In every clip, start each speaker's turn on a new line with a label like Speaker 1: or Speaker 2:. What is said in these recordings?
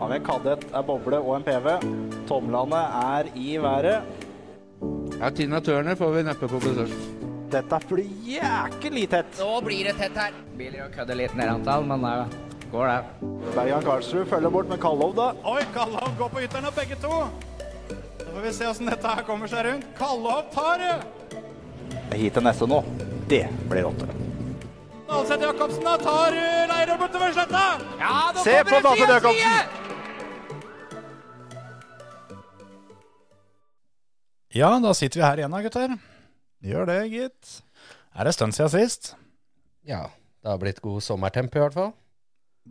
Speaker 1: Av en kadett er boble og en PV. Tomlene er i været.
Speaker 2: Ja, Tina Turner får vi neppe på besøk.
Speaker 1: Dette blir jækelig tett.
Speaker 3: Nå blir det tett her. Begynner å kødde litt nedantall, men det går, det.
Speaker 1: Bergan Karlsrud følger bort med Kallov, da.
Speaker 4: Oi, Kallov går på ytteren og begge to. Da får vi se åssen dette her kommer seg rundt. Kallov tar det!
Speaker 1: Hit til neste nå. Det blir åtte.
Speaker 4: Alseth Jacobsen da tar eh, Leirov bortover sletta.
Speaker 3: Ja, nå
Speaker 1: Se på
Speaker 3: kommer det side,
Speaker 1: Daffen Jacobsen!
Speaker 3: side!
Speaker 4: Ja, da sitter vi her igjen da, gutter. Gjør det, gitt. Er det stund siden sist?
Speaker 5: Ja, det har blitt god sommertemp i hvert fall.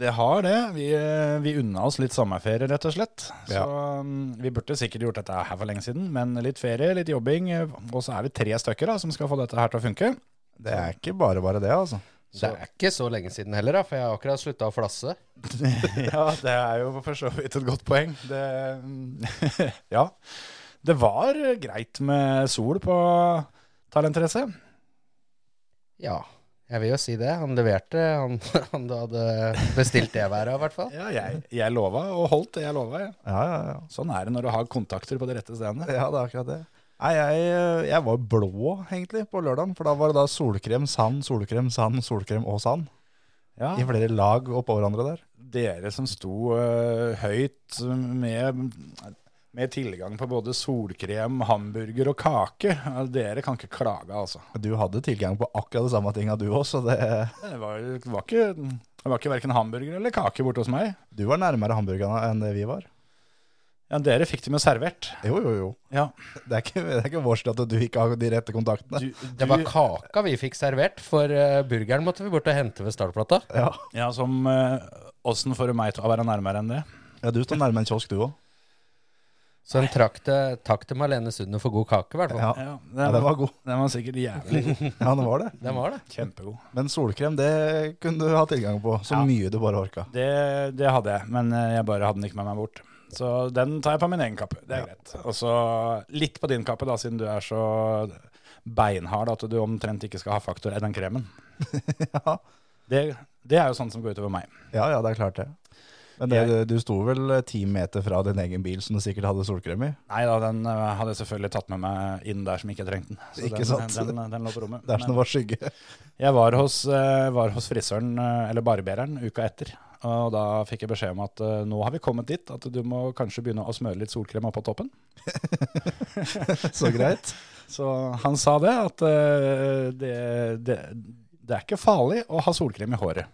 Speaker 4: Det har det. Vi, eh, vi unna oss litt sommerferie, rett og slett. Så um, vi burde sikkert gjort dette her for lenge siden, men litt ferie, litt jobbing, eh, og så er vi tre stykker da, som skal få dette her til å funke. Det er ikke bare bare det, altså.
Speaker 5: Det er ikke så lenge siden heller, da, for jeg har akkurat slutta å flasse.
Speaker 4: ja, det er jo for så vidt et godt poeng. Det, mm, ja. Det var greit med sol på talentresse.
Speaker 5: Ja, jeg vil jo si det. Han leverte han, han du hadde bestilt det været, i hvert fall.
Speaker 4: Ja, jeg, jeg lova og holdt det jeg lova. jeg.
Speaker 6: Ja, ja, ja.
Speaker 4: Sånn er det når du har kontakter på de rette stedene.
Speaker 6: ja det er akkurat det. Nei, jeg, eh, jeg var blå egentlig på lørdagen, for da var det da solkrem, sand, solkrem, sand, solkrem og sand.
Speaker 4: Ja.
Speaker 6: I flere lag oppå hverandre der.
Speaker 4: Dere som sto eh, høyt med, med tilgang på både solkrem, hamburger og kake, eh, dere kan ikke klage, altså.
Speaker 6: Du hadde tilgang på akkurat det samme tinga du òg, så det,
Speaker 4: Det var, var ikke, det var ikke verken hamburger eller kake borte hos meg.
Speaker 6: du var nærmere hamburgerne enn det vi var.
Speaker 4: Ja, dere fikk dem jo servert.
Speaker 6: Jo, jo, jo.
Speaker 4: Ja.
Speaker 6: Det er ikke, det er ikke vår skyld at du ikke har de rette kontaktene.
Speaker 5: Det var kaka vi fikk servert, for eh, burgeren måtte vi bort og hente ved startplata.
Speaker 6: Ja.
Speaker 4: Ja, som eh, Åssen får du meg til å være nærmere enn det?
Speaker 6: ja, du står nærmere en kiosk, du òg.
Speaker 5: Så en trakk til, takk til Malene Sunde for god kake, i hvert fall.
Speaker 6: Ja.
Speaker 4: Ja, den,
Speaker 6: ja,
Speaker 4: var,
Speaker 6: den var god.
Speaker 4: den var sikkert jævlig god.
Speaker 6: Ja, den var det.
Speaker 5: Den var det.
Speaker 4: Kjempegod.
Speaker 6: Men solkrem, det kunne du ha tilgang på. Så
Speaker 4: Ja.
Speaker 6: mye du bare orka.
Speaker 4: Det, det hadde jeg, men eh, jeg bare hadde den ikke med meg bort. Så den tar jeg på min egen kappe. Det er greit. Og så litt på din kappe, da, siden du er så beinhard at du omtrent ikke skal ha faktor i den kremen.
Speaker 6: Ja.
Speaker 4: Det, det er jo sånt som går utover meg.
Speaker 6: Ja, ja, det er klart det. Men det, du sto vel eh, ti meter fra din egen bil som du sikkert hadde solkrem i?
Speaker 4: Nei da, den eh, hadde jeg selvfølgelig tatt med meg inn der som ikke trengte den. Så
Speaker 6: Ikke
Speaker 4: den,
Speaker 6: sant?
Speaker 4: Den, den lå på rommet.
Speaker 6: Der som
Speaker 4: Men-
Speaker 6: det var skygge.
Speaker 4: Jeg var hos, eh, var hos frisøren, eh, eller barbereren, uka etter. Og da fikk jeg beskjed om at eh, nå har vi kommet dit, at du må kanskje begynne å smøre litt solkrem oppå toppen.
Speaker 6: Så greit.
Speaker 4: Så han sa det, at eh, det, det, det er ikke farlig å ha solkrem i håret.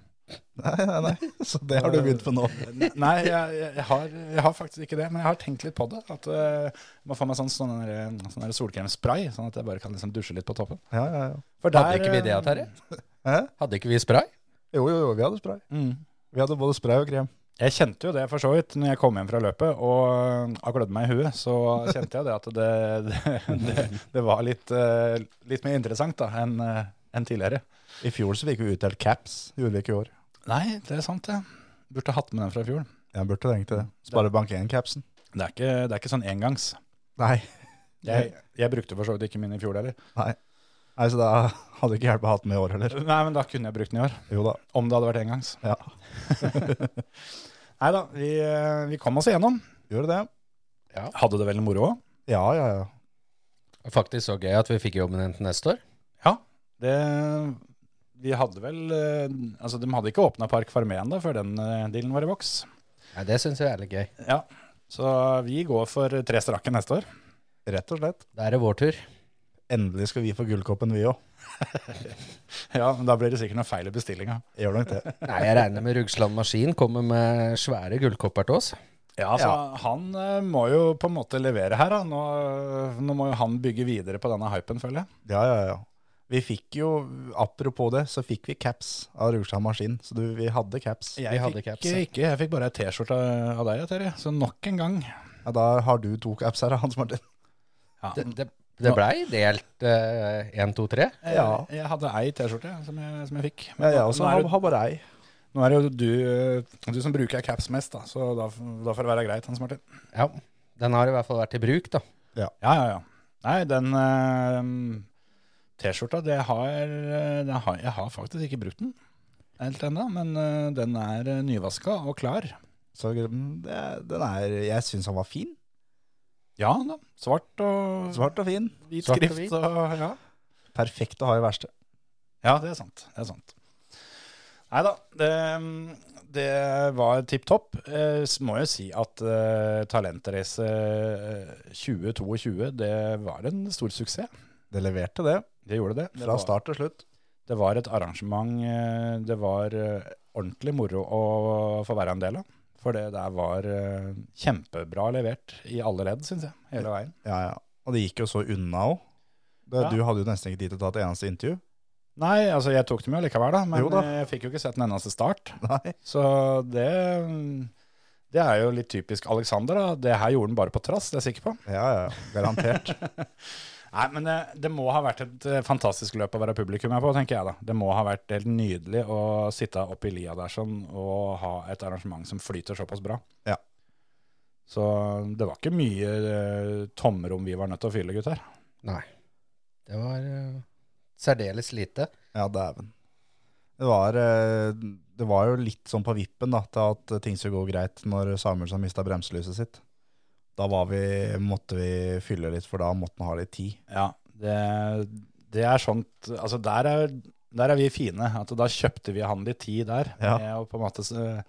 Speaker 6: Nei, nei, nei. Så det har du begynt på nå.
Speaker 4: Nei, jeg, jeg, har, jeg har faktisk ikke det, men jeg har tenkt litt på det. At eh, jeg må få meg sånn, sånn, der, sånn der solkremspray, sånn at jeg bare kan liksom dusje litt på toppen.
Speaker 6: Ja, ja, ja.
Speaker 4: For
Speaker 5: Hadde ikke vi det,
Speaker 4: eh,
Speaker 5: Terje?
Speaker 6: Hæ?
Speaker 5: Hadde ikke vi spray?
Speaker 6: Jo, jo, jo, vi hadde spray.
Speaker 4: Mm.
Speaker 6: Vi hadde både spray og krem.
Speaker 4: Jeg kjente jo det for så vidt når jeg kom hjem fra løpet og har klødd meg i huet. Så kjente jeg det at det, det, det, det var litt, eh, litt mer interessant da enn eh, enn tidligere.
Speaker 6: I fjor så fikk vi utdelt caps. Gjorde vi ikke i år.
Speaker 4: Nei, det er sant, det. Burde hatt med den fra i fjor.
Speaker 6: Jeg burde tenkt det. Sparebank 1-capsen.
Speaker 4: Det er ikke, det er ikke sånn engangs.
Speaker 6: Nei.
Speaker 4: Jeg, jeg brukte for så vidt ikke min i fjor heller.
Speaker 6: Nei, så da hadde ikke hjulpet å ha den med i år heller.
Speaker 4: Nei, men da kunne jeg brukt den i år.
Speaker 6: Jo da.
Speaker 4: Om det hadde vært engangs.
Speaker 6: Ja.
Speaker 4: Nei da, vi, eh, vi kom oss igjennom.
Speaker 6: Gjorde det.
Speaker 4: Hadde det veldig moro òg.
Speaker 6: Ja, ja, ja.
Speaker 5: Faktisk så gøy at vi fikk jobben igjen til neste år.
Speaker 4: Det Vi hadde vel eh, Altså, de hadde ikke åpna Park Farmé ennå før den eh, dealen var i boks.
Speaker 5: Nei, det syns jeg er litt gøy.
Speaker 4: Ja, så vi går for tre strake neste år.
Speaker 6: Rett og slett.
Speaker 5: Da er det vår tur.
Speaker 6: Endelig skal vi få gullkoppen, vi òg.
Speaker 4: Ja, men Da blir det sikkert noe feil i bestillinga.
Speaker 6: Gjør nok det.
Speaker 5: Nei, jeg regner med Rugsland Maskin kommer med svære gullkopper til oss.
Speaker 4: Ja, altså, Han eh, må jo på en måte levere her. Da. Nå, eh, nå må jo han bygge videre på denne hypen, føler jeg.
Speaker 6: Ja, ja, ja. Vi fikk jo, apropos det, så fikk vi caps av Rugsland Maskin. Så du, vi hadde caps.
Speaker 4: Jeg
Speaker 5: hadde
Speaker 4: fikk
Speaker 5: caps,
Speaker 4: ikke,
Speaker 5: ja.
Speaker 4: ikke, jeg fikk bare ei T-skjorte av deg, ja, Terje. Så nok en gang.
Speaker 6: Ja, da har du to caps her, Hans Martin.
Speaker 4: Ja.
Speaker 5: Det, det, det blei delt én, to, tre.
Speaker 4: Jeg,
Speaker 6: Ja.
Speaker 4: Eh, jeg hadde ei T-skjorte som, jeg- som jeg fikk.
Speaker 6: Ja, jeg
Speaker 4: nå-
Speaker 6: også
Speaker 4: nå,
Speaker 6: har,
Speaker 4: er det,
Speaker 6: har bare ei.
Speaker 4: nå er det jo du, eh, du som bruker caps mest, da, så da, f- da får det være greit, Hans Martin.
Speaker 5: Ja, den har i hvert fall vært i bruk, da.
Speaker 4: Ja, ja, ja. Nei, den eh, T-skjorta, det har, eh, det har Jeg har faktisk ikke brukt den helt ennå, men eh, den er eh, nyvaska og klar.
Speaker 6: Så mm, det, den er Jeg syns han var fin.
Speaker 4: Ja da. Svart og
Speaker 6: Svart og fin.
Speaker 4: hvit
Speaker 5: Svart og hvit.
Speaker 4: skrift. Og, ja.
Speaker 6: Perfekt å ha i verste.
Speaker 4: ja, det er sant. Det er sant. Nei da. Det, det var tipp topp. Eh, s- må jo si at eh, Talentrace eh, 2022, det var en stor suksess.
Speaker 6: Det leverte det
Speaker 4: Det gjorde det. det
Speaker 6: fra
Speaker 4: var-
Speaker 6: start til slutt.
Speaker 4: Det var et arrangement eh, Det var eh, ordentlig moro å få være en del av. For det der var eh, kjempebra levert i alle ledd, syns jeg. Hele veien.
Speaker 6: Ja, ja. Og det gikk jo så unna òg.
Speaker 4: Ja.
Speaker 6: Du hadde jo nesten ikke tid til å ta et eneste intervju.
Speaker 4: Nei, altså jeg tok dem jo likevel, da. Men
Speaker 6: Jo da.
Speaker 4: eh, jeg fikk jo ikke sett en eneste start.
Speaker 6: Nei.
Speaker 4: Så det det er jo litt typisk Alexander. da. Det her gjorde han bare på trass, det er jeg sikker på.
Speaker 6: Ja, ja, ja. garantert.
Speaker 4: Nei, men det, det må ha vært et eh, fantastisk løp å være publikum her på, tenker jeg da. Det må ha vært helt nydelig å sitte oppi lia der sånn og ha et arrangement som flyter såpass bra.
Speaker 6: Ja.
Speaker 4: Så det var ikke mye eh, tomrom vi var nødt til å fylle, gutter.
Speaker 5: Nei. Det var eh, særdeles lite.
Speaker 6: Ja, dæven. Det var, eh, det var jo litt sånn på vippen da, til at ting skulle gå greit når Samuelsen mista bremselyset sitt. Da var vi, måtte vi fylle litt, for da måtte han ha litt tid.
Speaker 4: Ja, det, det er sånt Altså, der er, der er vi fine. At da kjøpte vi han litt tid der,
Speaker 6: Ja.
Speaker 4: med å på en måte eh,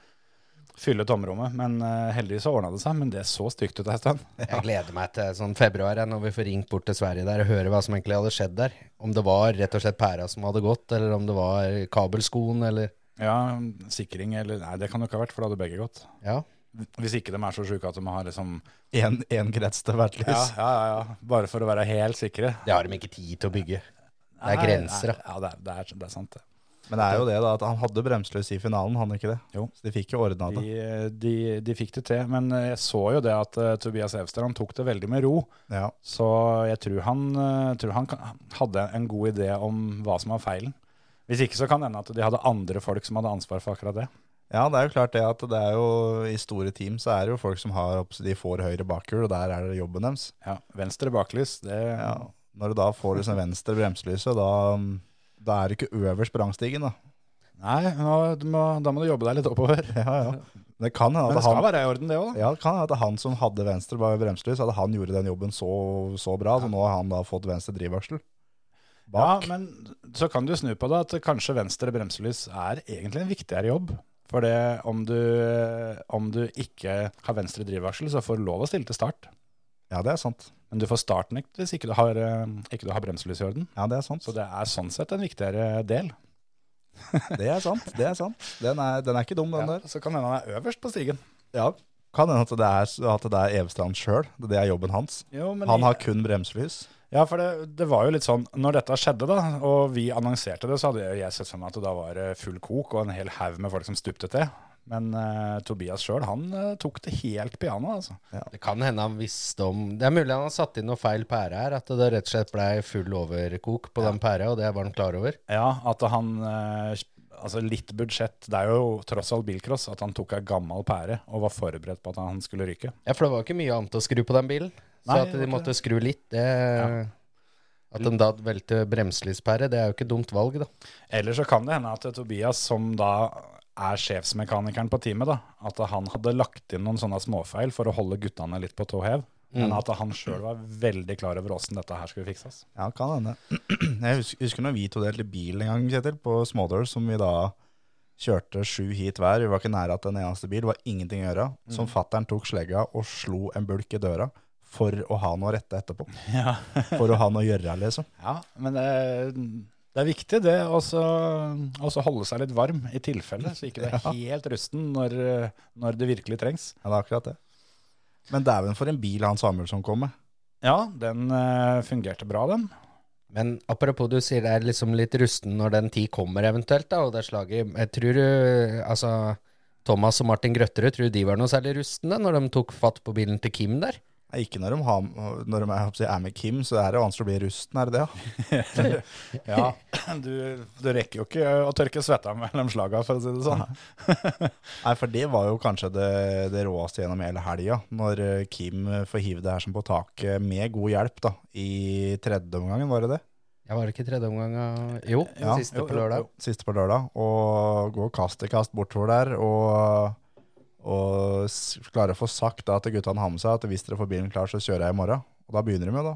Speaker 4: fylle tomrommet. Men eh, heldigvis så ordna det seg. Men det så stygt ut ei stund.
Speaker 5: Jeg gleder meg til sånn februar jeg, når vi får ringt bort til Sverige der og hører hva som egentlig hadde skjedd der. Om det var rett og slett pæra som hadde gått, eller om det var kabelskoen, eller
Speaker 4: Ja, sikring eller Nei, det kan jo ikke ha vært, for da hadde begge gått.
Speaker 5: Ja.
Speaker 4: Hvis ikke de er så sjuke at de har liksom
Speaker 6: Én krets til hvert
Speaker 4: ja,
Speaker 6: lys.
Speaker 4: ja, ja, ja. Bare for å være helt sikre.
Speaker 5: Det har de ikke tid til å bygge. Det er
Speaker 4: Nei,
Speaker 5: grenser, da.
Speaker 4: nei, Ja, det er, det er, det er sant, det.
Speaker 6: Men det er jo det da, at han hadde bremselys i finalen, han ikke det?
Speaker 4: Jo.
Speaker 6: Så de fikk jo ordna det.
Speaker 4: De, de, de fikk det til. Men eh, jeg så jo det at eh, Tobias Evstrand tok det veldig med ro.
Speaker 6: Ja.
Speaker 4: Så jeg tror han, eh, tror han kan, hadde en god idé om hva som var feilen. Hvis ikke så kan det hende at de hadde andre folk som hadde ansvar for akkurat det.
Speaker 6: ja, det er jo klart det at det er jo i store team så er det jo folk som har opp, de får høyre bakhjul, og der er det jobben deres.
Speaker 4: Ja, Venstre baklys, det
Speaker 6: Ja. Når du da får liksom venstre bremselyset, da, da er du ikke øverst på rangstigen, da.
Speaker 4: Nei, nå, du må, da må du jobbe deg litt oppover.
Speaker 6: Ja, ja. Det kan hende
Speaker 4: Men
Speaker 6: at
Speaker 4: det skal
Speaker 6: han,
Speaker 4: være i orden, det òg, da.
Speaker 6: ja, det kan hende at han som hadde venstre bare bremselys, at han gjorde den jobben så, så bra, så nå har han da fått venstre drivaksel. Bak.
Speaker 4: Ja, men så kan du snu på det at kanskje venstre bremselys er egentlig en viktigere jobb. For det, om, du, om du ikke har venstre drivvarsel, så får du lov å stille til start.
Speaker 6: Ja, det er sant.
Speaker 4: Men du får startnekt hvis ikke du har, eh, ikke du har bremselys i orden.
Speaker 6: Ja, det er sant.
Speaker 4: Så det er sånn sett en viktigere del.
Speaker 6: Det er sant, det er sant. Den er, den er ikke dum, den
Speaker 4: Ja,
Speaker 6: der.
Speaker 4: så kan hende han er øverst på stigen.
Speaker 6: Ja. Kan hende at det er, at det er Evestrand sjøl, det er jobben hans.
Speaker 4: Jo, men
Speaker 6: Han har kun bremselys.
Speaker 4: Ja, for det, det var jo litt sånn, når dette skjedde da, og vi annonserte det, så hadde jeg sett for meg at det da var det full kok og en hel haug med folk som stupte til. Men eh, Tobias sjøl, han eh, tok det helt piano, altså.
Speaker 5: Det kan hende han visste om Det er mulig han har satt inn noe feil pære her. At det rett og slett blei full overkok på den pæra, og det var han klar over.
Speaker 4: Ja, at han eh, Altså, litt budsjett. Det er jo tross alt bilcross at han tok ei gammel pære og var forberedt på at han skulle ryke.
Speaker 5: Ja, for det var ikke mye annet å skru på den bilen. Så
Speaker 4: Nei,
Speaker 5: at
Speaker 4: det var
Speaker 5: de
Speaker 4: ikke
Speaker 5: måtte skru litt, det At de da valgte bremselyspære, det er jo ikke dumt valg, da.
Speaker 4: Eller så kan det hende at Tobias, som da er sjefsmekanikeren på teamet, da, at han hadde lagt inn noen sånne småfeil for å holde guttene litt på tå hev. Men at han sjøl var veldig klar over åssen dette her skulle fikses.
Speaker 6: Ja, kan hende. Jeg husker, husker når vi to delte bil en gang, Kjetil, på Smådøl, som vi da kjørte sju hit hver. Vi var ikke nære at en eneste bil, det var ingenting å gjøre. Som fattern tok slegga og slo en bulk i døra for å ha noe å rette etterpå.
Speaker 4: Ja.
Speaker 6: For å ha noe å gjøre, liksom.
Speaker 4: Ja, men det er, det er viktig det å så- å så holde seg litt varm i tilfelle, så ikke det er helt rusten når, eh, når det virkelig trengs.
Speaker 6: Ja, det er akkurat det. Men dæven for en bil han Samuelsson kom med.
Speaker 4: Ja, den eh, fungerte bra, den.
Speaker 5: Men apropos, du sier det er liksom litt rusten når den tid kommer eventuelt, da, og det er slaget. Jeg tror du Altså, Thomas og Martin Grøtterud, tror du de var noe særlig rustne når de tok fatt på bilen til Kim der?
Speaker 6: Nei, ikke når de, har, når de er, er med Kim, så er det vanskelig å bli rusten, er det det? ja?
Speaker 4: Ja, du, du rekker jo ikke å tørke svetta mellom slaga, for å si det sånn.
Speaker 6: Nei, for det var jo kanskje det, det råeste gjennom hele helga, når eh, Kim eh, får hive det her som på taket med god hjelp, da. I tredje omgangen, var det det?
Speaker 5: Ja, var det ikke tredje omgang av Jo, den
Speaker 6: Ja,
Speaker 5: siste
Speaker 4: jo,
Speaker 5: på
Speaker 4: jo,
Speaker 5: lørdag.
Speaker 6: Siste på lørdag. Og går kast i kast bortover der, og, Og s- klarer å få sagt da til guttene har med seg at hvis dere får bilen klar, så kjører jeg i morgen. Og da begynner de jo, da.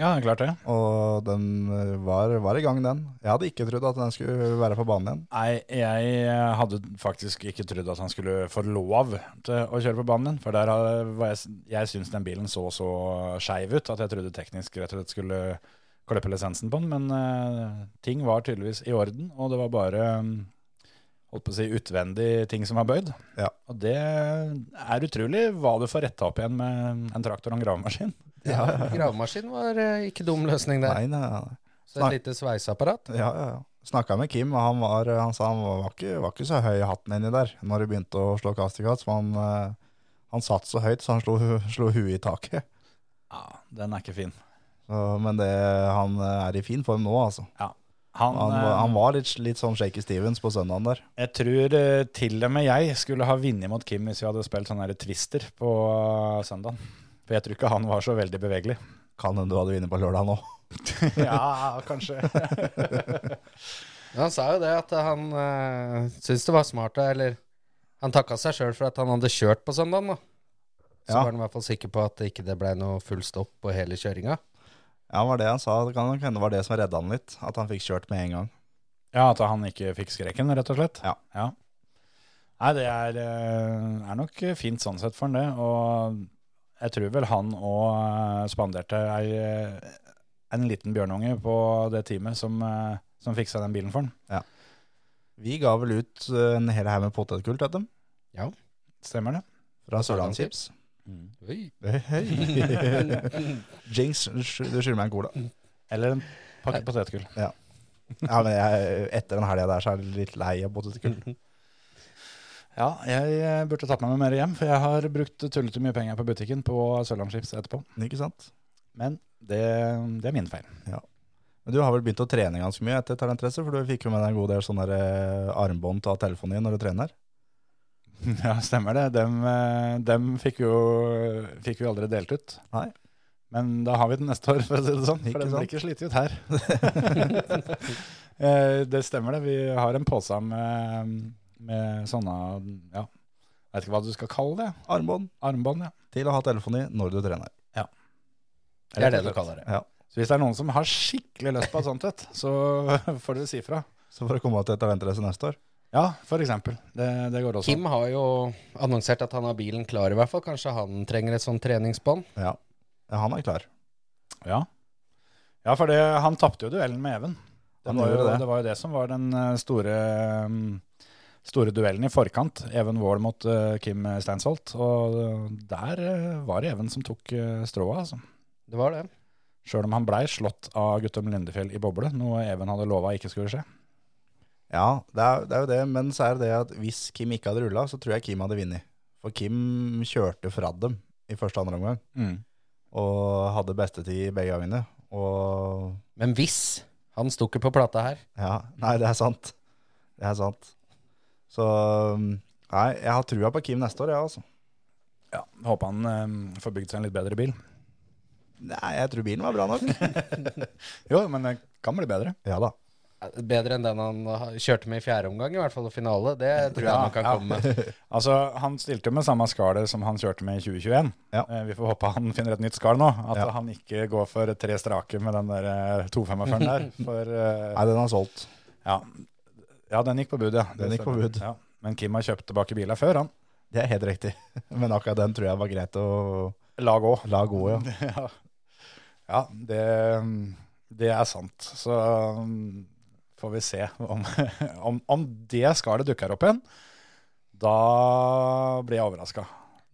Speaker 4: Ja, klart det.
Speaker 6: Og den eh, var, var i gang, den. Jeg hadde ikke trodd at den skulle være på banen igjen.
Speaker 4: Nei, jeg eh, hadde faktisk ikke trodd at han skulle få lov til å kjøre på banen. For der har- var jeg, jeg syns den bilen så så skeiv ut at jeg trodde teknisk rett og slett skulle klippe lisensen på den. Men eh, ting var tydeligvis i orden, og det var bare mm, holdt på å si, utvendig ting som var bøyd.
Speaker 6: Ja.
Speaker 4: Og det er utrolig hva du får retta opp igjen med en traktor og en gravemaskin.
Speaker 5: Ja, Gravemaskin var eh, ikke dum løsning der.
Speaker 6: Nei, nei, nei.
Speaker 5: Så et lite sveiseapparat.
Speaker 6: Ja, ja, ja. Snakka med Kim, og han, var, eh, han sa han var ikke, var ikke så høy i hatten inni der når det begynte å slå kastikats. For han, eh, han satt så høyt, så han slo, hu- slo huet i taket.
Speaker 4: Ja, den er ikke fin.
Speaker 6: Så, men det, han eh, er i fin form nå, altså.
Speaker 4: Han,
Speaker 6: Han,
Speaker 4: eh,
Speaker 6: var- han var litt, litt sånn Shaky Stevens på søndagen der.
Speaker 4: Jeg tror eh, til og med jeg skulle ha vunnet mot Kim hvis vi hadde spilt sånn her twister på eh, søndagen. For jeg tror ikke han var så veldig bevegelig.
Speaker 6: Kan hende du hadde vunnet på lørdag nå.
Speaker 4: ja, kanskje.
Speaker 5: Men han sa jo det at han uh, syntes det var smart, da, eller Han takka seg sjøl for at han hadde kjørt på søndagen, da. Så
Speaker 6: Ja.
Speaker 5: var han i hvert fall sikker på at ikke det blei noe full stopp på hele kjøringa.
Speaker 6: Ja, det var det han sa. Det kan nok hende det var det som redda han litt. At han fikk kjørt med en gang.
Speaker 4: Ja, at han ikke fikk skrekken, rett og slett.
Speaker 6: Ja.
Speaker 4: Nei, det er, eh, er nok fint sånn sett for han det. Og jeg tror vel han òg spanderte ei, eh, en liten bjørnunge på det teamet som, eh, som fiksa den bilen for han.
Speaker 6: Vi ga vel ut eh, en hel haug med potetgull til dem
Speaker 4: Stemmer det?
Speaker 6: fra Sørlandschips. Jinx, du skylder meg en cola.
Speaker 4: Eller en pakke potetgull.
Speaker 6: Ja, men jeg, etter den helga der, så er jeg litt lei av potetgull.
Speaker 4: Ja, jeg eh, burde tatt meg med mer hjem, for jeg har brukt tullete mye penger på butikken på Sørlandschips etterpå.
Speaker 6: Ikke sant?
Speaker 4: Men det, det er min feil.
Speaker 6: Men du har vel begynt å trene ganske mye etter talentresse, for du fikk jo med deg en god del sånne der, eh, armbånd til å ha telefonen i når du trener.
Speaker 4: Ja, stemmer det. Dem, eh, dem fikk, jo, fikk vi aldri delt ut.
Speaker 6: Nei.
Speaker 4: Men da har vi den neste år, for å si det sånn.
Speaker 6: Ikke
Speaker 4: For den blir
Speaker 6: sant?
Speaker 4: ikke slitt ut her. Eh, det stemmer det. Vi har en pose med, med sånne ja, jeg vet ikke hva du skal kalle det.
Speaker 6: Armbånd
Speaker 4: Armbånd, ja.
Speaker 6: til å ha telefonen i når du trener.
Speaker 5: Det er det du kaller det.
Speaker 6: Ja.
Speaker 4: Så hvis det er noen som har skikkelig lyst på et sånt et, så får dere si fra.
Speaker 6: Så for å komme til talentresse neste år.
Speaker 4: Ja, for eksempel. Det, det går også.
Speaker 5: Kim har jo annonsert at han har bilen klar, i hvert fall. Kanskje han trenger et sånt treningsbånd?
Speaker 6: Ja. ja, han er klar.
Speaker 4: Ja. ja, for det, han tapte jo duellen med Even. Det
Speaker 6: Han
Speaker 4: var, jo,
Speaker 6: gjorde det.
Speaker 4: det var jo det som var den eh, store, mm, store duellen i forkant. Even Wold mot eh, Kim Steinsholt. Og eh, der eh, var det Even som tok uh, strået, altså.
Speaker 5: Det var det.
Speaker 4: Sjøl om han blei slått av Guttorm Lindefjell i boble, noe Even hadde lova ikke skulle skje.
Speaker 6: Ja, det er, det er jo det, men så er det det at hvis Kim ikke hadde rulla, så tror jeg Kim hadde vunnet. For Kim kjørte fra dem i første og andre omgang,
Speaker 4: Mm.
Speaker 6: og hadde bestetid begge gangene. Og
Speaker 5: Men hvis Han sto ikke på plata her.
Speaker 6: Ja, nei, det er sant. Det er sant. Så um, Nei, jeg har trua på Kim neste år, jeg, altså.
Speaker 4: Ja, Håper han eh, får bygd seg en litt bedre bil.
Speaker 6: Nei, jeg tror bilen var bra nok.
Speaker 4: Jo, men det kan bli bedre.
Speaker 6: ja da.
Speaker 5: Bedre enn den han ha- kjørte med i fjerde omgang, i hvert fall, og finale. Det tror jeg
Speaker 4: Ja,
Speaker 5: han kan
Speaker 4: ja.
Speaker 5: komme med.
Speaker 4: Altså, Han stilte jo med samme skallet som han kjørte med i 2021.
Speaker 6: Ja.
Speaker 4: Eh, Vi får håpe han finner et nytt skall nå. At
Speaker 6: Ja.
Speaker 4: han ikke går for tre strake med den der eh, 245 der. For eh,
Speaker 6: Nei, den har solgt.
Speaker 4: ja. ja, den gikk på bud, ja.
Speaker 6: Den
Speaker 4: Det
Speaker 6: gikk på
Speaker 4: stemmer.
Speaker 6: bud.
Speaker 4: Ja. Men Kim har kjøpt tilbake biler før, han.
Speaker 6: Det er helt riktig. Men akkurat den tror jeg var greit å
Speaker 4: La gå.
Speaker 6: la gå, ja.
Speaker 4: ja, ja det, mm, det er sant. Så um, får vi se om, om, om det skallet dukker opp igjen. Da blir jeg overraska.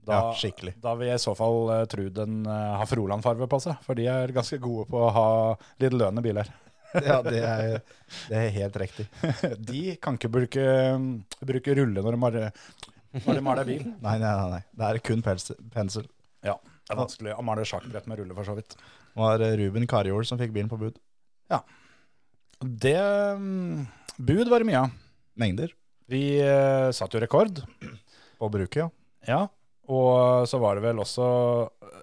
Speaker 4: Da,
Speaker 6: Ja, skikkelig.
Speaker 4: da vil jeg i så fall eh, tro den eh, har Froland-farve på seg, for de er ganske gode på å ha litt lønende biler.
Speaker 6: ja det, er, det er helt riktig.
Speaker 4: De kan ikke bruke, mm, bruke rulle når de maler, når de maler bil.
Speaker 6: Nei, nei, nei. nei. Det er kun pels, pensel.
Speaker 4: Ja, det er vanskelig å male sjakkbrett med rulle, for så vidt.
Speaker 6: Det var eh, Ruben Karjol som fikk bilen på bud.
Speaker 4: Det mm, Bud var det mye av.
Speaker 6: Mengder.
Speaker 4: Vi eh, satt jo rekord,
Speaker 6: På bruket, ja.
Speaker 4: ja. Og så var det vel også eh,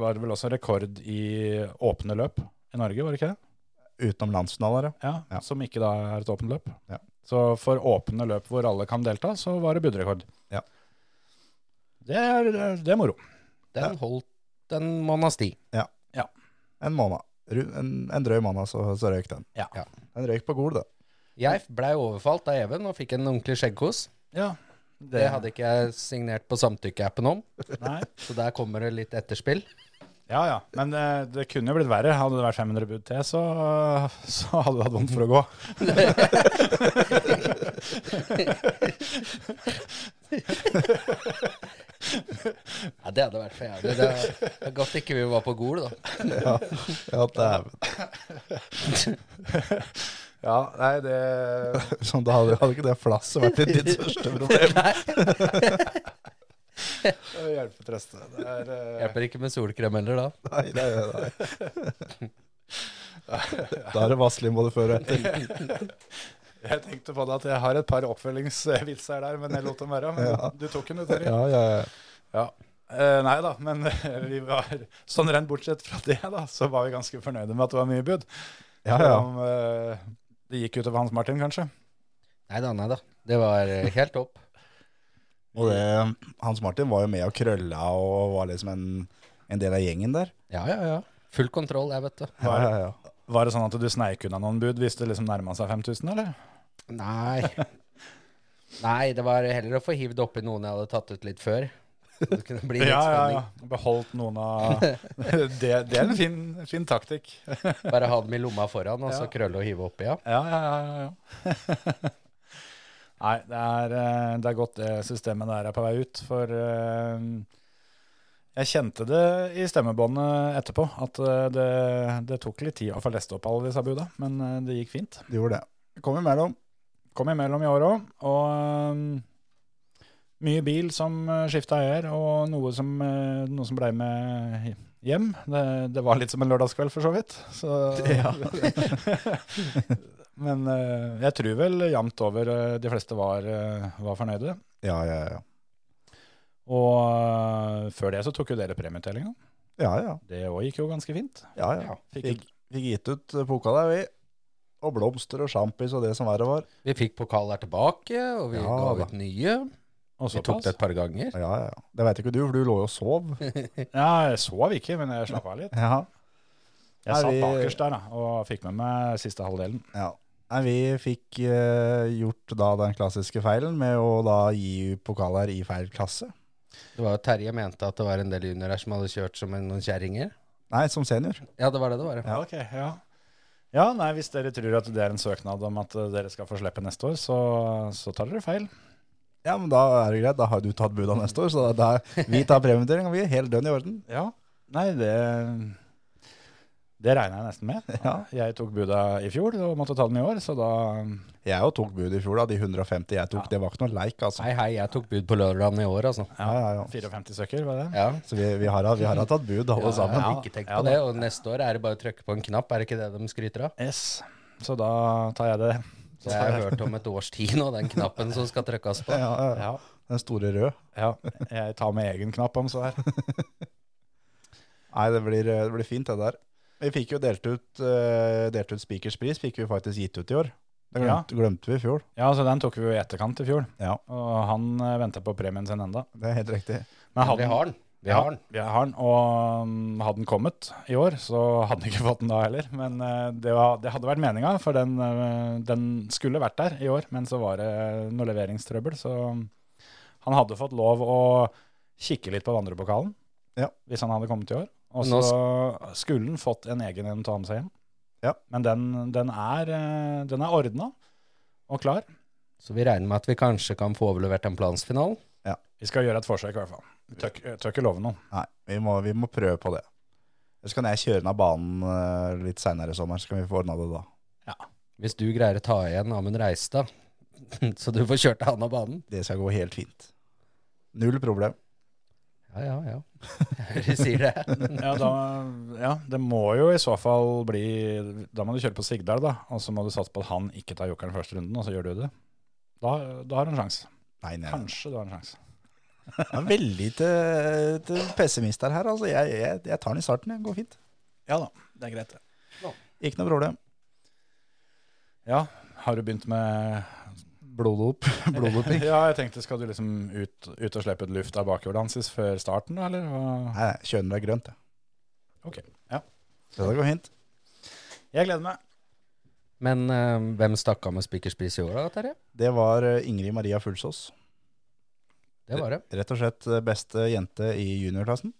Speaker 4: var det vel også rekord i åpne løp i Norge, var det ikke det?
Speaker 6: Utenom landsfinaler, ja.
Speaker 4: Ja,
Speaker 6: Ja.
Speaker 4: Som ikke da er et åpent løp.
Speaker 6: Ja.
Speaker 4: Så for åpne løp hvor alle kan delta, så var det budrekord.
Speaker 6: Ja.
Speaker 4: Det er, det er moro.
Speaker 5: Den holdt en måneds tid.
Speaker 6: En måned. Ru- En, en drøy måned, så, så røyk den.
Speaker 4: Ja.
Speaker 6: Den røyk på Gol, da.
Speaker 5: Jeg blei overfalt av Even og fikk en ordentlig skjeggkos.
Speaker 4: Ja.
Speaker 5: Det hadde ikke jeg signert på samtykkeappen om,
Speaker 4: Nei.
Speaker 5: så der kommer det litt etterspill.
Speaker 4: Ja, ja. Men det, det kunne jo blitt verre. Hadde det vært 500 bud til, så, så hadde du hatt vondt for å gå.
Speaker 5: Ja, det hadde vært for jævlig. Det er godt ikke vi var på Gol, da.
Speaker 6: Ja, ja dæven.
Speaker 4: Ja, nei, det
Speaker 6: Sånn, da hadde, hadde ikke det flasset vært ditt, ditt største problem.
Speaker 4: hjelper trøste. Det er, eh,
Speaker 5: Hjelper ikke med solkrem heller da.
Speaker 6: Nei, nei, nei, nei. Da er det Vazelin både før og etter.
Speaker 4: Jeg tenkte på det at jeg har et par oppfølgingsvitser der, men jeg lot dem være. Men
Speaker 6: Ja.
Speaker 4: du tok den, du, Terje.
Speaker 6: Ja, ja, ja.
Speaker 4: Ja. Eh, nei da, men vi var sånn rent bortsett fra det, da, så var vi ganske fornøyde med at det var mye bud.
Speaker 6: Ja, ja.
Speaker 4: Om, eh, det gikk utover Hans Martin, kanskje.
Speaker 5: Nei da, nei da. Det var eh, helt topp.
Speaker 6: Og det, Hans Martin var jo med og krølla og var liksom en, en del av gjengen der.
Speaker 5: Ja, ja, ja. Full kontroll, jeg, vet du.
Speaker 4: Var,
Speaker 6: ja, ja.
Speaker 4: var det sånn at du sneik unna noen bud hvis det liksom nærma seg 5000, eller?
Speaker 5: Nei. Nei, det var heller å få hivd oppi noen jeg hadde tatt ut litt før. Det kunne bli litt spenning.
Speaker 4: Beholdt noen av Det, det er en fin, fin taktikk.
Speaker 5: Bare ha dem i lomma foran, og så
Speaker 4: Ja.
Speaker 5: krølle og hive oppi, ja.
Speaker 4: Ja, ja, ja. ja, ja. Nei, det er, eh, det er godt det systemet der er på vei ut, for eh, jeg kjente det i stemmebåndet etterpå, at eh, det, det tok litt tid å få lest opp alle disse buda, men eh, det gikk fint.
Speaker 6: Det gjorde det. Det Kom imellom.
Speaker 4: Kom imellom i år òg, og eh, mye bil som skifta eier, og noe som, eh, noe som blei med hjem. Det, det var litt som en lørdagskveld, for så vidt. Så, Men eh, jeg tror vel jevnt over eh, de fleste var, eh, var fornøyde.
Speaker 6: Ja, ja, ja.
Speaker 4: Og eh, før det så tok jo dere premieutdelinga.
Speaker 6: Ja, ja.
Speaker 4: Det òg gikk jo ganske fint.
Speaker 6: ja, ja. Fikk, fikk gitt ut eh, poka der, vi. Og blomster og sjampis og det som verre var.
Speaker 5: Vi fikk pokaler tilbake, og vi
Speaker 6: Ja, da.
Speaker 5: ga ut nye.
Speaker 4: Og
Speaker 5: Vi tok
Speaker 4: såpass.
Speaker 5: det et par ganger.
Speaker 6: Ja, ja, ja. Det veit ikke du, for du lå jo og sov.
Speaker 4: Ja, jeg sov ikke, men jeg slapp av litt.
Speaker 6: Ja.
Speaker 4: Jeg
Speaker 6: Nei,
Speaker 4: satt
Speaker 6: vi-
Speaker 4: bakerst der da, og fikk med meg siste halvdelen.
Speaker 6: Ja. Nei, vi fikk eh, gjort da den klassiske feilen med å da gi pokaler i feil klasse.
Speaker 5: Det var jo Terje mente at det var en del juniorer som hadde kjørt som en- noen kjerringer.
Speaker 6: Nei, som senior.
Speaker 5: Ja, det var det det var.
Speaker 4: Ja, ok, ja. Ja, nei, Hvis dere tror at det er en søknad om at eh, dere skal få slippe neste år, så, så tar dere feil.
Speaker 6: Ja, men da er det greit. Da har du tatt buda neste år, så da, vi tar premieutdeling, og vi er helt dønn i orden.
Speaker 4: Ja. Nei, det, det regner jeg nesten med.
Speaker 6: Ja.
Speaker 4: Jeg tok buda i fjor og måtte ta den i år, så da
Speaker 6: Jeg jo tok bud i fjor, da. De 150 jeg tok, det var ikke noe leik, altså.
Speaker 5: Hei, hei, jeg tok bud på lørdagen i år, altså.
Speaker 6: Ja, ja, ja.
Speaker 4: 54 søkker, var det?
Speaker 5: Ja.
Speaker 6: Så vi, vi har vi har hatt bud, alle sammen.
Speaker 5: Ja, ikke tenk på det. Og neste år er det bare å trykke på en knapp, er det ikke det de skryter av?
Speaker 4: Yes. Så da tar jeg det.
Speaker 5: Så jeg har hørt om et års tid nå, den knappen som skal trykkes på.
Speaker 6: Ja, ja, ja. Den store rød.
Speaker 4: Ja, jeg tar med egen knapp om så her.
Speaker 6: Nei, det blir, eh, det blir fint, det der. Vi fikk jo delt ut, eh, delt ut Speakerspris, fikk vi faktisk gitt ut i år. Det
Speaker 4: Ja.
Speaker 6: glemte, glemte vi i fjor.
Speaker 4: Ja, så den tok vi jo i etterkant i fjor,
Speaker 6: Ja,
Speaker 4: og han venta på premien sin enda.
Speaker 6: det er helt riktig.
Speaker 4: Men
Speaker 5: Vi har den. Vi har den.
Speaker 4: Ja, vi har den. Og mm, hadde den kommet i år, så hadde den ikke fått den da heller. Men eh, det, var, det hadde vært meninga, for den, eh, den skulle vært der i år, men så var det noe leveringstrøbbel. Så mm, han hadde fått lov å kikke litt på vandrepokalen
Speaker 6: Ja.
Speaker 4: hvis han hadde kommet i år. Og
Speaker 5: Nå
Speaker 4: så skulle han fått en egen en å ta med seg hjem.
Speaker 6: Ja.
Speaker 4: Men den, den er, eh, den er ordna og klar.
Speaker 5: Så vi regner med at vi kanskje kan få overlevert en plansfinal.
Speaker 4: Vi skal gjøre et forsøk, i hvert fall. Vi tør ikke- tør ikke love noe.
Speaker 6: Nei, vi må, vi må prøve på det. Så kan jeg kjøre den av banen eh, litt seinere i sommer, så kan vi få ordna det da.
Speaker 5: Hvis du greier å ta igjen Amund Reistad, så du får kjørt han av banen.
Speaker 6: Det skal gå helt fint. Null problem.
Speaker 5: Ja, ja, ja. Jeg hører du sier det.
Speaker 4: Ja, da, ja, det må jo i så fall bli Da må du kjøre på Sigdal, da. Og så må du satse på at han ikke tar jokeren første runden, og så gjør du det. Da, da har du en sjanse.
Speaker 6: Nei, nei, nei.
Speaker 4: Kanskje du har en sjanse.
Speaker 6: Jeg er veldig til, til pessimist der her. Altså, jeg, jeg, jeg tar den i starten, det går fint.
Speaker 4: Ja da, det er greit, det.
Speaker 6: Ikke noe problem.
Speaker 4: Ja, har du begynt med
Speaker 6: Bloddop. Bloddoping.
Speaker 4: Ja, jeg tenkte, skal du liksom ut, ut og slippe ut luft av bakhjulet hans før starten, da, eller? Hva?
Speaker 6: Nei, kjønner er grønt, jeg.
Speaker 4: Ok, ja.
Speaker 6: Det går fint.
Speaker 4: Jeg gleder meg.
Speaker 5: Men eh, hvem stakk av med spikerspris i år, da, Terje?
Speaker 6: Det var eh, Ingrid Maria Fullsås.
Speaker 5: Det var det.
Speaker 6: Rett og slett eh, beste jente i juniorklassen.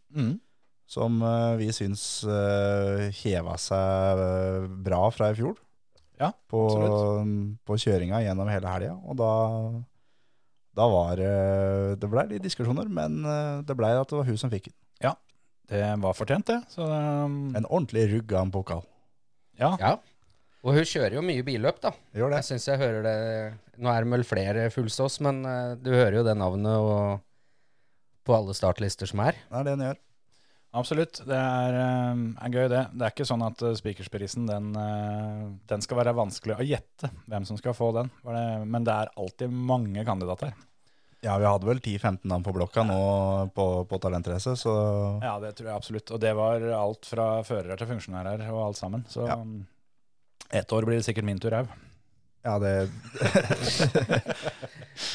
Speaker 6: Som eh, vi syns eh, heva seg eh, bra fra i fjor.
Speaker 4: Ja,
Speaker 6: på, mm,
Speaker 4: absolutt.
Speaker 6: på kjøringa gjennom hele helga. Og da, da var eh, Det blei litt diskusjoner, men eh, det blei at det var hun som fikk den.
Speaker 4: Det var fortjent, det. Så, um,
Speaker 6: En ordentlig rugg av en pokal.
Speaker 4: ja.
Speaker 5: Ja. Og hun kjører jo mye billøp, da.
Speaker 6: Gjør det.
Speaker 5: Jeg syns jeg hører det Nå er det vel flere Fullsås, men eh, du hører jo det navnet og på alle startlister som er.
Speaker 6: Det er det en gjør.
Speaker 4: Absolutt. Det er, eh, er gøy, det. Det er ikke sånn at eh, Spikersprisen den, eh, den skal være vanskelig å gjette hvem som skal få den. Var det, men det er alltid mange kandidater.
Speaker 6: Ja, vi hadde vel 10-15 navn på blokka nå på, på Talentrace, så
Speaker 4: Ja, det tror jeg absolutt. Og det var alt fra førere til funksjonærer og alt sammen. Så
Speaker 6: Ja.
Speaker 4: um, ett år blir det sikkert min tur òg.
Speaker 6: Ja, det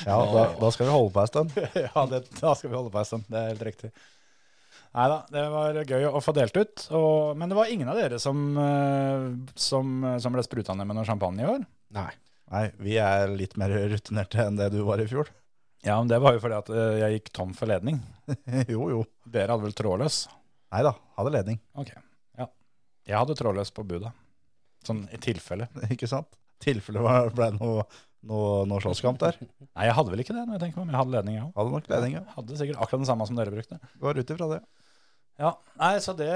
Speaker 6: Ja, da, da skal vi holde på ei stund.
Speaker 4: ja, det, da skal vi holde på en stund. Det er helt riktig. Nei da, det var gøy å få delt ut. Og, men det var ingen av dere som, eh, som, som ble spruta ned med noe champagne i år.
Speaker 5: Nei.
Speaker 6: Nei, vi er litt mer rutinerte enn det du var i fjor.
Speaker 4: Ja, men det var jo fordi at eh, jeg gikk tom for ledning.
Speaker 6: jo, jo.
Speaker 4: Dere hadde vel trådløs?
Speaker 6: Nei da, hadde ledning.
Speaker 4: Ok, ja. Jeg hadde trådløs på budet. Sånn i tilfelle.
Speaker 6: Ikke sant? Tilfelle det ble noe, noe, noe slåsskamp der.
Speaker 4: Nei, jeg hadde vel ikke det, når jeg tenker meg om. Jeg hadde ledning, jeg òg.
Speaker 6: Hadde nok ledning, ja.
Speaker 4: Hadde sikkert akkurat den samme som dere brukte.
Speaker 6: Går ut ifra det.
Speaker 4: Ja, nei, så det,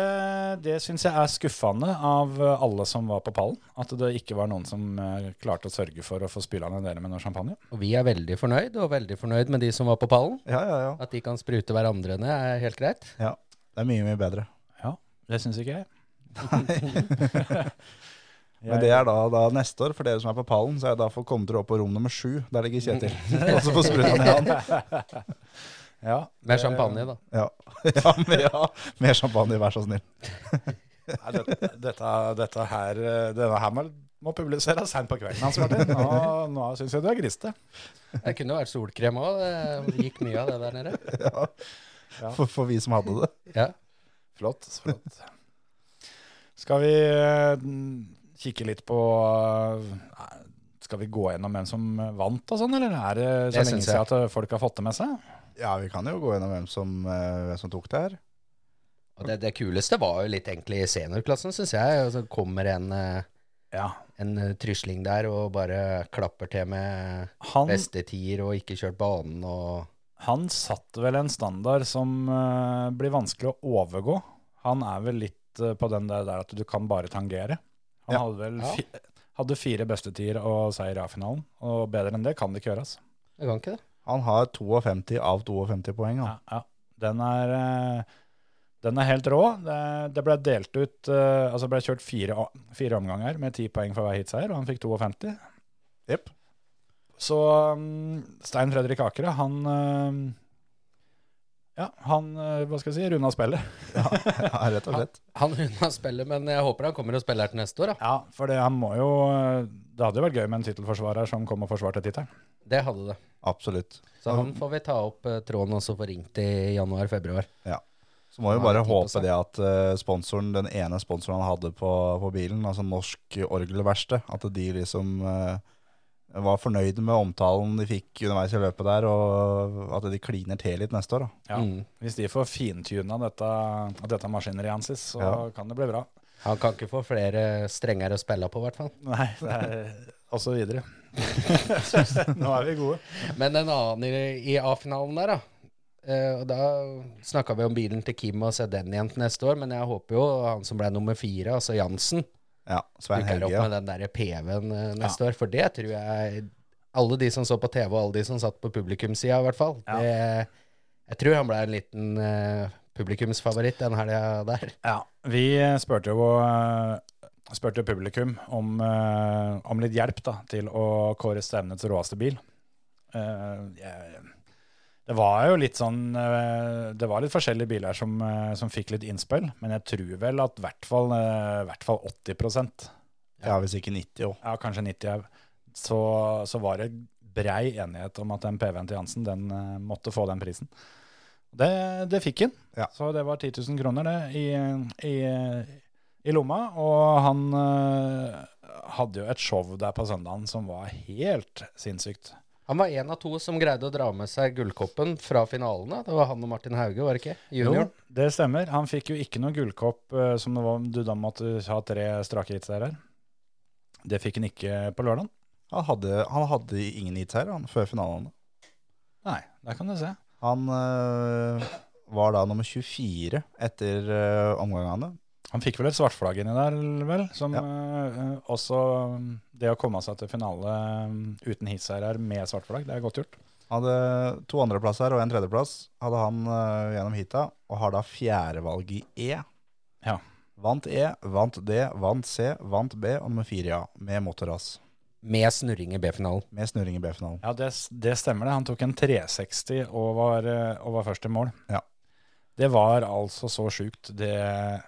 Speaker 4: det syns jeg er skuffende av eh, alle som var på pallen. At det ikke var noen som eh, klarte å sørge for å få spyla ned dere med noe champagne.
Speaker 5: Og vi er veldig fornøyd, og veldig fornøyd med de som var på pallen.
Speaker 6: Ja, ja, ja.
Speaker 5: At de kan sprute hverandre ned, er helt greit.
Speaker 6: Det er mye, mye bedre.
Speaker 4: Det syns ikke jeg.
Speaker 6: Men det er da, da neste år, for dere som er på pallen, så er det da for å komme dere opp på rom nummer sju. Der ligger Kjetil. Og så får spruta ned han.
Speaker 4: Ja,
Speaker 5: Med champagne, da.
Speaker 6: Ja. Ja, men ja, mer champagne, vær så snill.
Speaker 4: eh, nei, dette, dette, dette her, eh, denne her må, må publiseres seint på kvelden hans, Martin. Nå, nå syns jeg du er griste.
Speaker 5: Det kunne vært solkrem òg. Det gikk mye av det der nede.
Speaker 6: Ja. For, for vi som hadde det.
Speaker 5: Ja.
Speaker 4: Flott. flott. Skal vi eh, kikke litt på eh, Skal vi gå gjennom hvem som vant og sånn, eller er det så
Speaker 5: Det
Speaker 4: lenge
Speaker 5: syns
Speaker 4: siden at eh, folk har fått det med seg?
Speaker 6: Ja, vi kan jo gå gjennom hvem som, eh, hvem som tok det her.
Speaker 5: Og det, det kuleste var jo litt egentlig i seniorklassen, syns jeg. Og så kommer en, eh,
Speaker 4: Ja.
Speaker 5: en eh, trysling der og bare klapper til med
Speaker 4: Han,
Speaker 5: beste tier og ikke kjørt banen og
Speaker 4: han satt vel en standard som eh, blir vanskelig å overgå. Han er vel litt eh, på den der, der at du kan bare tangere. Han
Speaker 6: Ja.
Speaker 4: hadde vel
Speaker 5: Ja.
Speaker 4: fi, hadde fire bestetider og seier i A-finalen, og bedre enn det kan det ikke gjøres.
Speaker 5: Det kan ikke det.
Speaker 6: Han har 52 av 52 poeng. Han.
Speaker 4: Ja, ja. Den, er, eh, den er helt rå. Det, det ble delt ut eh, Altså ble kjørt fire, o- fire omganger med ti poeng for hver hitseier, og han fikk 52.
Speaker 6: Jepp.
Speaker 4: Så mm, Stein Fredrik Akere, han eh, Ja, han eh, Hva skal jeg si? Runda spillet.
Speaker 6: Ja, rett og slett.
Speaker 5: Han runda spillet, men jeg håper han kommer og spiller her til neste år. Da.
Speaker 4: Ja, for det, han må jo eh, Det hadde jo vært gøy med en tittelforsvarer som kom og forsvarte tittelen.
Speaker 5: Det hadde det.
Speaker 6: Absolutt.
Speaker 5: Så han får vi ta opp eh, tråden og så få ringt i januar-februar.
Speaker 6: Så må vi
Speaker 5: Ja,
Speaker 6: bare
Speaker 5: 10%.
Speaker 6: håpe det at eh, sponsoren, den ene sponsoren han hadde på, på bilen, altså Norsk Orgelverksted, at de liksom eh, var fornøyde med omtalen de fikk underveis i løpet der, og at de kliner til litt neste år. Da.
Speaker 4: Ja.
Speaker 5: Mm.
Speaker 4: Hvis de får fintuna dette, dette maskineriet hans, så
Speaker 6: Ja.
Speaker 4: kan det bli bra.
Speaker 5: Han kan ikke få flere strenger å spille på, i hvert fall.
Speaker 4: Nei, det er, og så videre. Nå er vi gode.
Speaker 5: Men en annen i, i A-finalen der, da. Eh, og da snakka vi om bilen til Kim og se den igjen til neste år, men jeg håper jo han som ble nummer fire, altså Jansen,
Speaker 6: Ja, Svein
Speaker 5: dukker
Speaker 6: Helge.
Speaker 5: opp
Speaker 6: Ja.
Speaker 5: med den der PV-en eh, neste år. For det tror jeg alle de som så på TV, og alle de som satt på publikumssida, i hvert fall
Speaker 4: Ja.
Speaker 5: det, Jeg tror han ble en liten eh, publikumsfavoritt den helga der.
Speaker 4: Ja, vi spurte jo, eh, spurte jo publikum om, eh, om litt hjelp da, til å kåre stevnets råeste bil. Eh, jeg- Det var jo litt sånn eh, Det var litt forskjellige biler som, eh, som fikk litt innspill, men jeg tror vel at i hvert fall, eh, hvert fall 80
Speaker 6: Ja, hvis ikke 90 òg.
Speaker 4: ja, kanskje 90 au, så, så var det brei enighet om at den PV-en til Jansen den eh, måtte få den prisen. Det, det fikk han.
Speaker 6: Ja.
Speaker 4: Så det var 10 000 kroner det, i, i, i lomma. Og han eh, hadde jo et show der på søndagen som var helt sinnssykt.
Speaker 5: Han var en av to som greide å dra med seg gullkoppen fra finalene. Det var han og Martin Hauge, var det ikke? Junior.
Speaker 4: Jo, det stemmer. Han fikk jo ikke noen gullkopp eh, som det var, du da måtte ha tre strake hits der. her. Det fikk han ikke på lørdagen.
Speaker 6: Han hadde, han hadde ingen hits her han, før finalen.
Speaker 4: Nei, der kan du se.
Speaker 6: Han øh, var da nummer 24 etter øh, omgangene.
Speaker 4: Han fikk vel et svartflagg inni der, vel? Som
Speaker 6: Ja.
Speaker 4: eh, også mm, Det å komme seg til finale mm, uten hisseier med svartflagg, det er godt gjort.
Speaker 6: Han hadde to andreplasser og en tredjeplass hadde han øh, gjennom hita, og har da fjerdevalg i E.
Speaker 4: Ja.
Speaker 6: Vant E, vant D, vant C, vant B og nummer fire i A, med motorras.
Speaker 5: Med snurring i B-finalen.
Speaker 6: Med snurring i B-finalen.
Speaker 4: Ja, det, det stemmer det. Han tok en 360 og var, eh, og var først i mål.
Speaker 6: Ja.
Speaker 4: Det var altså så sjukt, det,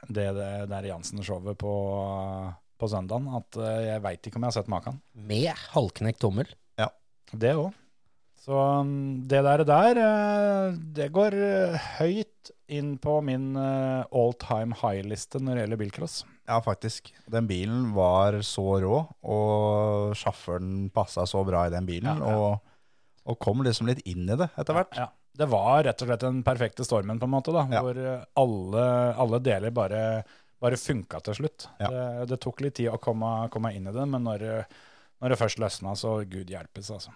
Speaker 4: det, det der Jansen-showet på, på søndagen, at eh, jeg veit ikke om jeg har sett maken.
Speaker 5: Med halvknekt tommel.
Speaker 4: Det òg. Så um, det der, der eh, det går eh, høyt inn på min eh, all time high-liste når det gjelder bilcross.
Speaker 6: Ja, faktisk. Den bilen var så rå, og sjåføren passa så bra i den bilen,
Speaker 4: Ja, ja.
Speaker 6: Og, og kom liksom litt inn i det etter hvert.
Speaker 4: Ja. Det var rett og slett den perfekte stormen, på en måte, da,
Speaker 6: Ja.
Speaker 4: hvor eh, alle, alle deler bare, bare funka til slutt.
Speaker 6: Ja.
Speaker 4: Det, det tok litt tid å komme, komme inn i det, men når, eh, når det først løsna, så gud hjelpes, altså.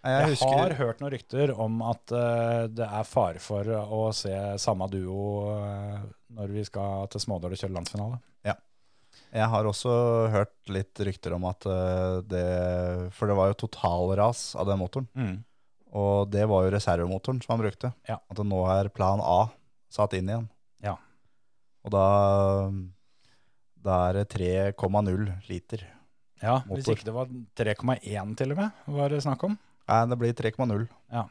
Speaker 4: Jeg, har hørt noen rykter om at eh, det er fare for å se samme duo eh, når vi skal til Smådål og kjøre landsfinale.
Speaker 6: Jeg har også hørt litt rykter om at eh, det For det var jo totalras av den motoren.
Speaker 4: Mm.
Speaker 6: Og det var jo reservemotoren som han brukte.
Speaker 4: Ja.
Speaker 6: At nå er plan A satt inn igjen.
Speaker 4: Ja.
Speaker 6: Og da Da er det 3,0 liter.
Speaker 4: Ja,
Speaker 6: Motor.
Speaker 4: Hvis ikke det var 3,1 til og med, var det snakk om.
Speaker 6: Nei, det blir 3,0.
Speaker 4: Ja,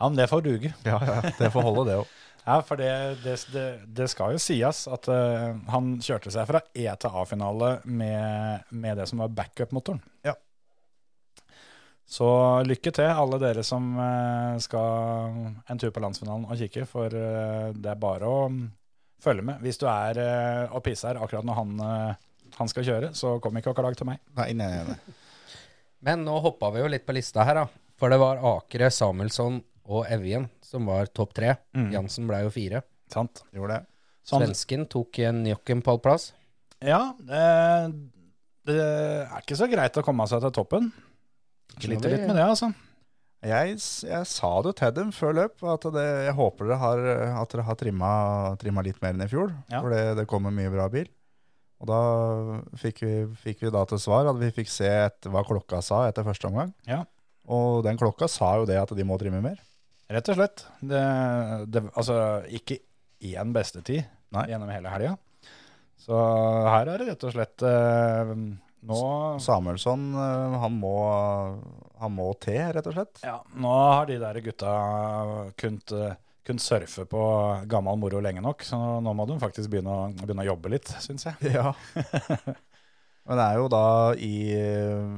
Speaker 4: men det får duge.
Speaker 6: Ja, ja, det får holde, det òg.
Speaker 4: Ja, for det, det, det, det skal jo sies at eh, han kjørte seg fra E til A-finale med, med det som var backup-motoren.
Speaker 6: Ja.
Speaker 4: Så lykke til, alle dere som eh, skal en tur på landsfinalen og kikke, for eh, det er bare å følge med. Hvis du er eh, og pisser akkurat når han, eh, han skal kjøre, så kom ikke og klag til meg.
Speaker 6: Nei, nei, nei, nei.
Speaker 5: Men nå hoppa vi jo litt på lista her, da. For det var Akere, Samuelsson og Evjen som var topp tre. Jansen ble jo fire.
Speaker 4: Sant?
Speaker 6: Gjorde det.
Speaker 4: Så han-
Speaker 5: Svensken tok en jokken pallplass.
Speaker 4: Ja, det, det er ikke så greit å komme seg til toppen. Sliter litt med det, altså.
Speaker 6: Jeg, s- jeg sa det til dem før løp, at det, jeg håper dere har, at dere har trimma, trimma litt mer enn i fjor.
Speaker 4: Ja.
Speaker 6: For det, det kommer mye bra bil. Og da fikk vi, fikk vi da til svar at vi fikk se et, hva klokka sa etter første omgang.
Speaker 4: Ja.
Speaker 6: Og den klokka sa jo det at de må trimme mer.
Speaker 4: Rett og slett. Det, det, altså, ikke én bestetid
Speaker 6: Nei.
Speaker 4: gjennom hele helga. Så her er det rett og slett eh, nå,
Speaker 6: Samuelsson eh, han må, han må te, rett og slett.
Speaker 4: ja, nå har de der gutta kunnet eh, kunnet surfe på gammel moro lenge nok, så nå må de faktisk begynne å, begynne å jobbe litt, syns jeg.
Speaker 6: Ja. Men det er jo da i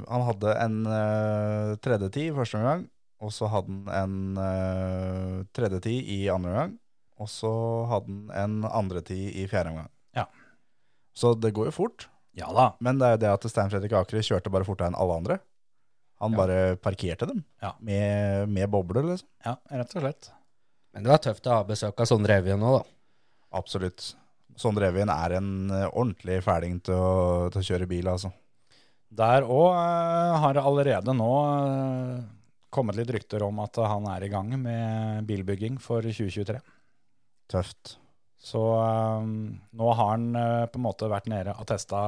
Speaker 6: Han hadde en uh, tredje tid i første omgang, og så hadde han en eh, tredje tid i andre omgang, og så hadde han en andre tid i fjerde omgang.
Speaker 4: Ja.
Speaker 6: Så det går jo fort,
Speaker 4: Ja da.
Speaker 6: men det er jo det at Stein Fredrik Akre kjørte bare fortere enn alle andre. Han bare parkerte dem
Speaker 4: Ja.
Speaker 6: med, med bobler, liksom.
Speaker 4: Ja, rett og slett.
Speaker 5: Men det var tøft å ha besøk av Sondre Evjen nå, da.
Speaker 6: Absolutt. Sondre Evjen er en eh, ordentlig fæling til å, til å kjøre bil, altså.
Speaker 4: Der òg har det allerede nå eh, kommet litt rykter om at han er i gang med bilbygging for 2023.
Speaker 6: Tøft.
Speaker 4: Så eh, nå har han eh, på en måte vært nede og testa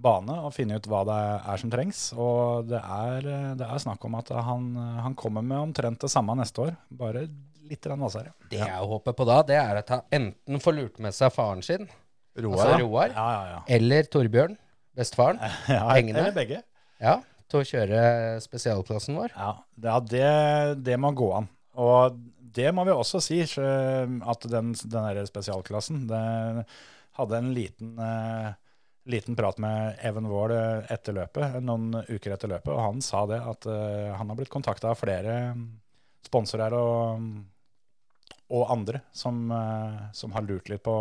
Speaker 4: bane og funnet ut hva det er som trengs. Og det er, eh, det er snakk om at han, han kommer med omtrent det samme neste år, bare litt grann hvassere.
Speaker 5: Det jeg håper på da, det er at han enten får lurt med seg faren sin,
Speaker 6: Roar,
Speaker 5: altså
Speaker 6: ja.
Speaker 5: Roar,
Speaker 4: Ja, ja, ja.
Speaker 5: eller Torbjørn, bestefaren,
Speaker 4: ja
Speaker 5: Pengene?
Speaker 4: eller begge.
Speaker 5: ja, til å kjøre spesialklassen vår.
Speaker 4: Ja, det, ja, det, det må gå an. Og det må vi også si, så- at den, den der spesialklassen det hadde en liten, eh, liten prat med Even Wold eh, etter løpet, noen uker etter løpet, og han sa det at eh, han har blitt kontakta av flere mm, sponsorer og, mm, og andre som, eh, som har lurt litt på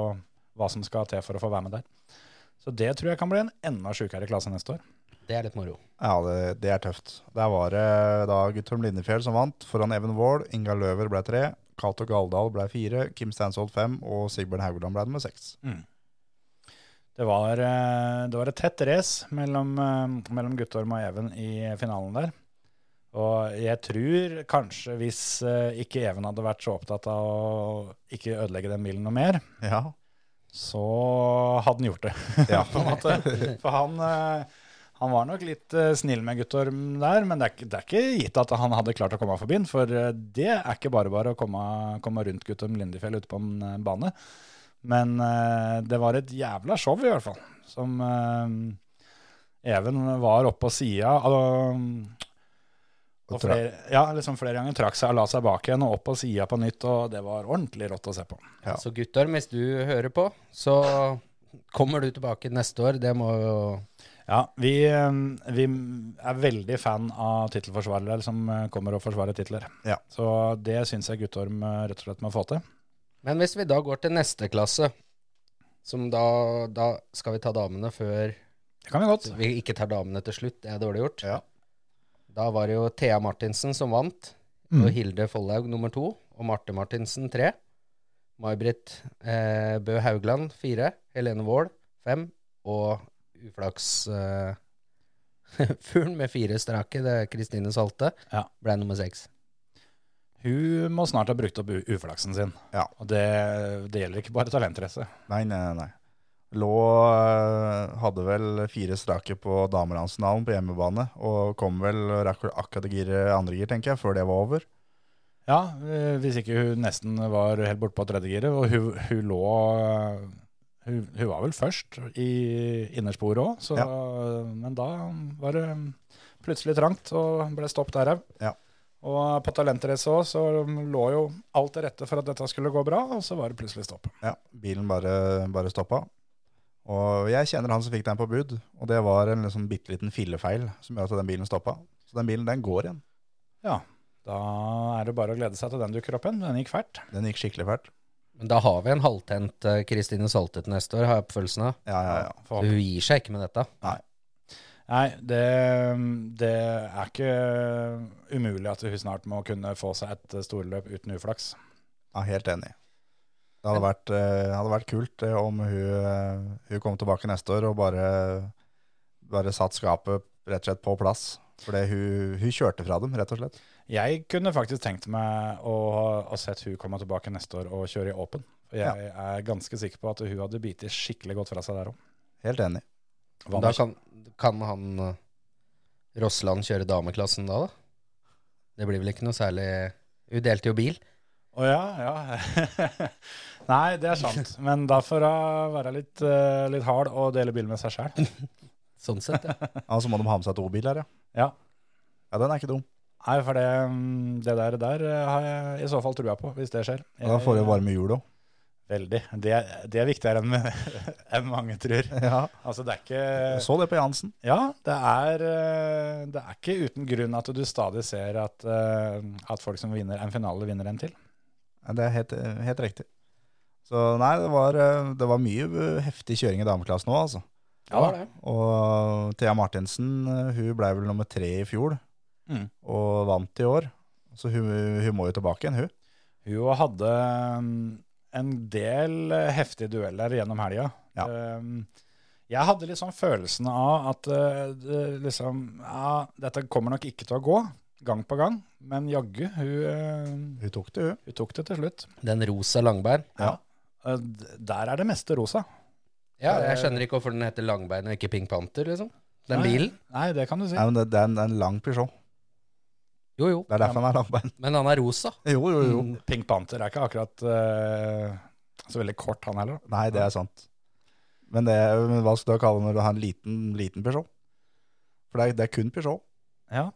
Speaker 4: hva som skal til for å få være med der. Så det tror jeg kan bli en enda sjukere klasse neste år.
Speaker 5: Det er litt moro.
Speaker 6: Ja, det, det er tøft. Der var det da Guttorm Lindefjell som vant, foran Even Wold. Inga Løver ble tre. Cato Galdal ble fire. Kim Stansholt fem. Og Sigbjørn Haugland ble nummer seks.
Speaker 4: Det var, eh, det var et tett race mellom, eh, mellom Guttorm og Even i finalen der. Og jeg tror kanskje hvis eh, ikke Even hadde vært så opptatt av å ikke ødelegge den bilen noe mer,
Speaker 6: Ja.
Speaker 4: så hadde han gjort det.
Speaker 6: Ja.
Speaker 4: på en måte. For han, eh, han var nok litt eh, snill med Guttorm der, men det er, ikke- det er ikke gitt at han hadde klart å komme forbi den, for eh, det er ikke bare bare å komme, komme rundt Guttorm Lindefjell ute på en eh, bane. Men eh, det var et jævla show i hvert fall, som eh, Even var oppe på sida og, og
Speaker 6: Og trakk.
Speaker 4: flere, ja, liksom flere ganger trakk seg og la seg bak igjen og opp på sida på nytt, og det var ordentlig rått å se på.
Speaker 6: Ja.
Speaker 5: Så Guttorm, hvis du hører på, så kommer du tilbake neste år. Det må jo
Speaker 4: Ja, vi, eh, vi er veldig fan av tittelforsvarere som eh, kommer og forsvarer titler.
Speaker 6: Ja.
Speaker 4: Så det syns jeg Guttorm eh, rett og slett må få til.
Speaker 5: Men hvis vi da går til neste klasse, som da, da skal vi ta damene før
Speaker 4: Det kan vi godt.
Speaker 5: vi ikke tar damene til slutt. Det er dårlig gjort.
Speaker 6: Ja.
Speaker 5: Da var det jo Thea Martinsen som vant,
Speaker 4: Mm.
Speaker 5: og Hilde Follhaug nummer to, og Marte Martinsen tre. May-Britt eh, Bø Haugland fire, Helene Wold fem, og uflaksfuglen eh, fuglen med fire strake, det er Kristine Salte,
Speaker 4: Ja.
Speaker 5: ble nummer seks.
Speaker 4: Hun må snart ha brukt opp u- uflaksen sin.
Speaker 6: Ja.
Speaker 4: Og det, det gjelder ikke bare talentrace.
Speaker 6: Nei, nei, nei, nei. Lå eh, hadde vel fire strake på damelandsfinalen på hjemmebane, og kom vel og rakk vel akkurat å gire andre gir, tenker jeg, før det var over.
Speaker 4: Ja, eh, hvis ikke hun nesten var helt bortpå tredjegiret. Og hun, hun lå eh, hun, hun var vel først i innersporet òg, så Men da var det plutselig trangt og ble stopp der òg.
Speaker 6: Ja.
Speaker 4: Og på talentrace òg, så lå jo alt til rette for at dette skulle gå bra, og så var det plutselig stopp.
Speaker 6: Ja, bilen bare, bare stoppa. Og jeg kjenner han som fikk den på bud, og det var en liksom bitte liten fillefeil som gjør at den bilen stoppa. Så den bilen, den går igjen.
Speaker 4: Da er det bare å glede seg til den dukker opp igjen. Den gikk fælt.
Speaker 6: Den gikk skikkelig fælt.
Speaker 5: Men da har vi en halvtent eh, Kristine Salte til neste år, har jeg på følelsen av.
Speaker 6: Ja, ja, ja.
Speaker 5: Så Hun gir seg ikke med dette.
Speaker 4: Nei, det, det er ikke umulig at hun snart må kunne få seg et storløp uten uflaks.
Speaker 6: ja helt enig. Det hadde vært, eh, hadde vært kult eh, om hun, eh, hun kom tilbake neste år og bare, bare satt skapet rett og slett på plass. Fordi hun, hun kjørte fra dem, rett og slett.
Speaker 4: Jeg kunne faktisk tenkt meg å ha sett hun komme tilbake neste år og kjøre i Åpen. For jeg er ganske sikker på at hun hadde bitt skikkelig godt fra seg der òg.
Speaker 6: Helt enig.
Speaker 5: Men Da kan, kan han eh, Rossland kjøre dameklassen da, da? Det blir vel ikke noe særlig Hun delte jo bil.
Speaker 4: Å ja, ja. Nei, det er sant. Men da får hun være litt, eh, litt hard og dele bil med seg sjæl.
Speaker 5: Sånn sett, ja.
Speaker 6: Ja, så må de ha med seg to biler, ja.
Speaker 4: Ja.
Speaker 6: Ja, den er ikke dum.
Speaker 4: Nei, for det, mm, det der, der eh, har jeg i så fall trua på, hvis det skjer.
Speaker 6: Og da får hun varme hjul òg.
Speaker 4: Veldig. Det, det er viktigere enn enn mange tror.
Speaker 6: Ja.
Speaker 4: Altså, det er ikke
Speaker 6: Så det på Jansen.
Speaker 4: Ja, det er, eh, det er ikke uten grunn at du stadig ser at, eh, at folk som vinner en finale, vinner en til.
Speaker 6: Ja, Det er helt, helt riktig. Så nei, det var, eh, det var mye eh, heftig kjøring i dameklassen òg, altså.
Speaker 4: Ja,
Speaker 5: det.
Speaker 6: Og Thea Martinsen eh, hun ble vel nummer tre i fjor,
Speaker 4: Mm.
Speaker 6: og vant i år. Så hun, hun må jo tilbake igjen, hun.
Speaker 4: Hun hadde mm, en del eh, heftige dueller gjennom helga.
Speaker 6: Ja.
Speaker 4: Eh, Jeg hadde litt sånn følelsen av at eh, det, liksom, ja, dette kommer nok ikke til å gå, gang på gang. Men jaggu, hun, eh,
Speaker 6: Hun tok det, hun.
Speaker 4: hun tok det til slutt.
Speaker 5: Den rosa langbein.
Speaker 4: Eh, d- Der er det meste rosa.
Speaker 5: Ja, jeg skjønner ikke hvorfor den heter langbein og ikke Pink Panther, liksom. Den
Speaker 4: Nei.
Speaker 5: bilen.
Speaker 4: Nei, det kan du si.
Speaker 6: Nei, men det, det, er en, det er en lang Peugeot.
Speaker 5: Jo, jo.
Speaker 6: Det er derfor han er langbein.
Speaker 5: Men han er rosa.
Speaker 6: Jo, jo, jo.
Speaker 4: Pink Panther er ikke akkurat eh, så veldig kort, han heller.
Speaker 6: Nei, det er sant. Men, det, men hva skal du kalle det når du har en liten, liten Peugeot? For det er, det er kun Peugeot.
Speaker 4: Ja.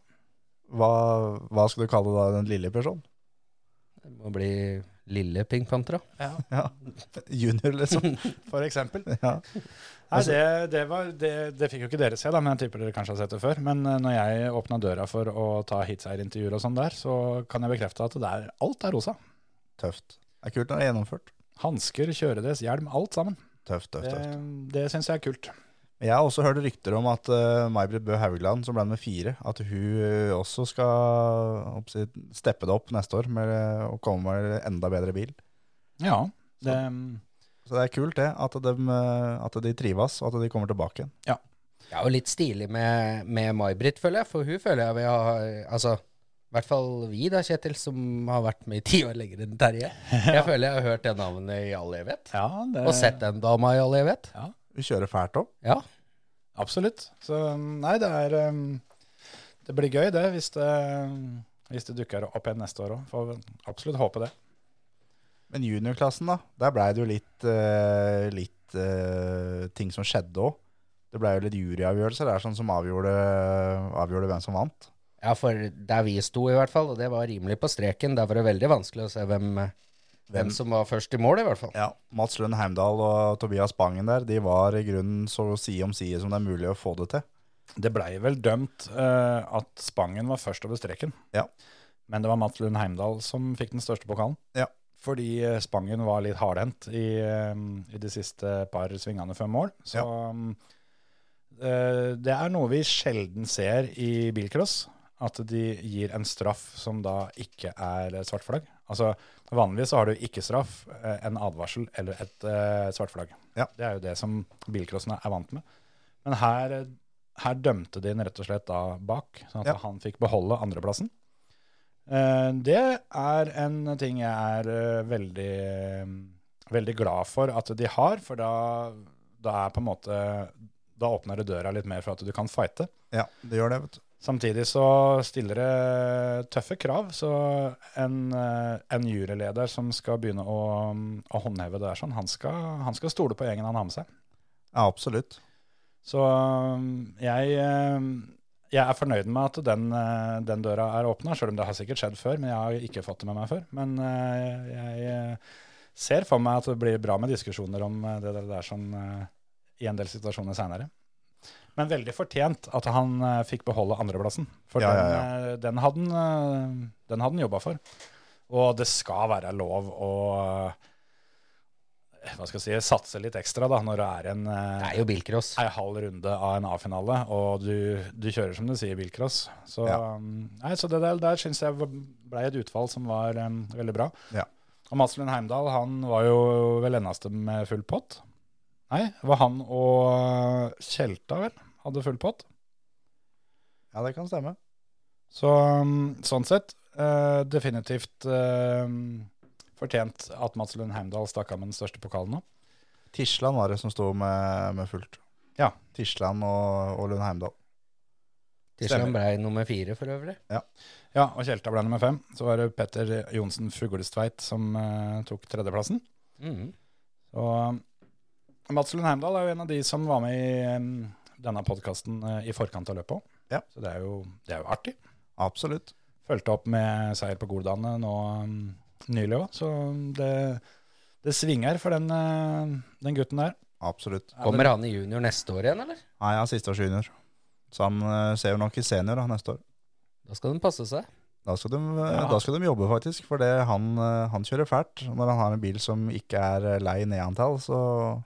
Speaker 6: Hva, hva skal du kalle da den lille Peugeoten?
Speaker 5: Det må bli Lille Pink Panther, da.
Speaker 6: Ja. Junior, liksom.
Speaker 4: for eksempel.
Speaker 6: Ja.
Speaker 4: Nei, det, det, var, det, det fikk jo ikke dere se, da, men jeg tipper dere kanskje har sett det før. Men eh, når jeg åpna døra for å ta heatseierintervjuer og sånn der, så kan jeg bekrefte at det er, alt er rosa.
Speaker 6: Tøft. Det er kult når det er gjennomført.
Speaker 4: Hansker, kjøredress, hjelm, alt sammen.
Speaker 6: Tøft, tøft,
Speaker 4: Det,
Speaker 6: tøft.
Speaker 4: det syns jeg er kult.
Speaker 6: Jeg har også hørt rykter om at uh, May-Britt Bø Haugland, som ble med fire, at hun eh, også skal håper jeg å si, steppe det opp neste år med eh, å komme med enda bedre bil.
Speaker 4: Ja. Det, mm,
Speaker 6: Så det er kult det, at de, eh, at de trives, og at de kommer tilbake igjen.
Speaker 5: Ja, og litt stilig med, med May-Britt, føler jeg. For hun føler jeg vi har Altså, i hvert fall vi da, Kjetil, som har vært med i ti år lenger enn Terje. Jeg føler jeg har hørt det navnet i all evighet.
Speaker 4: ja, det
Speaker 5: Og sett den dama i all evighet.
Speaker 6: Hun kjører fælt opp.
Speaker 5: Ja.
Speaker 4: Absolutt. Så mm, nei, det er um, Det blir gøy, det, hvis det, mm, hvis det dukker opp igjen neste år òg. Får absolutt håpe det.
Speaker 6: Men juniorklassen, da, der blei det jo litt, eh, litt eh, ting som skjedde òg. Det blei jo litt juryavgjørelser. Det er sånn som avgjorde, avgjorde hvem som vant.
Speaker 5: ja, for der vi sto, i hvert fall, og det var rimelig på streken, der var det veldig vanskelig å se hvem, hvem, som var først i mål, i hvert fall.
Speaker 6: Ja, Mats Lund Heimdal og Tobias Bangen der, de var i grunnen så side om side som det er mulig å få det til.
Speaker 4: Det blei vel dømt eh, at Spangen var først over streken.
Speaker 6: Ja.
Speaker 4: Men det var Mats Lund Heimdal som fikk den største pokalen.
Speaker 6: Ja.
Speaker 4: Fordi eh, Spangen var litt hardhendt i, eh, i de siste par svingene før mål. Så mm, eh, det er noe vi sjelden ser i bilcross. At de gir en straff som da ikke er et svart flagg. Altså, Vanligvis så har du ikke straff, eh, en advarsel eller et eh, svart flagg.
Speaker 6: Ja.
Speaker 4: Det er jo det som bilcrossene er vant med. Men her eh, her dømte de den rett og slett da bak, sånn at
Speaker 6: Ja.
Speaker 4: han fikk beholde andreplassen. Eh, Det er en ting jeg er eh, veldig, eh, veldig glad for at de har, for da, da er på en måte Da åpner det døra litt mer for at du kan fighte.
Speaker 6: Ja, det gjør det, vet du.
Speaker 4: Samtidig så stiller det tøffe krav, så en, eh, en juryleder som skal begynne å, å håndheve det der sånn, han skal, han skal stole på gjengen han har med seg.
Speaker 6: Ja, absolutt.
Speaker 4: Så um, jeg, um, jeg er fornøyd med at den, eh, den døra er åpna, sjøl om det har sikkert skjedd før. Men jeg har ikke fått det med meg før. Men eh, jeg eh, ser for meg at det blir bra med diskusjoner om eh, det der- der sånn eh, i en del situasjoner seinere. Men veldig fortjent at han eh, fikk beholde andreplassen. For
Speaker 6: Ja,
Speaker 4: den,
Speaker 6: ja,
Speaker 4: eh, den hadde han, eh, den hadde han jobba for. Og det skal være lov å eh, hva skal jeg si, satse litt ekstra da, når det er en eh,
Speaker 5: Det er jo bilcross.
Speaker 4: ei halv runde av en A-finale, og du, du kjører som du sier bilcross. Så,
Speaker 6: Ja.
Speaker 4: um, nei, så det der, der syns jeg var- ble et utfall som var um, veldig bra.
Speaker 6: Ja.
Speaker 4: Og Mads Lund Heimdal han var jo vel eneste med full pott. Nei, det var han og Tjelta vel hadde full pott.
Speaker 6: Ja, det kan stemme.
Speaker 4: Så um, sånn sett, eh, definitivt eh, fortjent at Mads Lund Heimdal stakk av med den største pokalen nå.
Speaker 6: Tisland var det som sto med, med fullt.
Speaker 4: Ja.
Speaker 6: Tisland og, og Lund Heimdal.
Speaker 5: Tisland
Speaker 4: stemmer.
Speaker 5: blei nummer fire, for øvrig.
Speaker 4: Ja, og Kjelta ble nummer fem. Så var det Petter Johnsen Fuglestveit som eh, tok tredjeplassen.
Speaker 5: Mhm.
Speaker 4: Og um, Mats Lund Heimdal er jo en av de som var med i um, denne podkasten i forkant av løpet òg.
Speaker 6: Ja.
Speaker 4: Så det er, jo, det er jo artig.
Speaker 6: Absolutt.
Speaker 4: Fulgte opp med seier på Goldane nå um, nylig òg, så det, det svinger for den, eh, den gutten der.
Speaker 6: Absolutt.
Speaker 5: Kommer han i junior neste år igjen, eller?
Speaker 6: Nei, han er sisteårs junior. Så han eh, ser jo nok i senior da, neste år.
Speaker 5: Da skal den passe seg.
Speaker 6: Da skal, de, eh,
Speaker 4: Ja.
Speaker 6: da skal de jobbe, faktisk. For det, han, eh, han kjører fælt. Når han har en bil som ikke er eh, lei nedantall, så,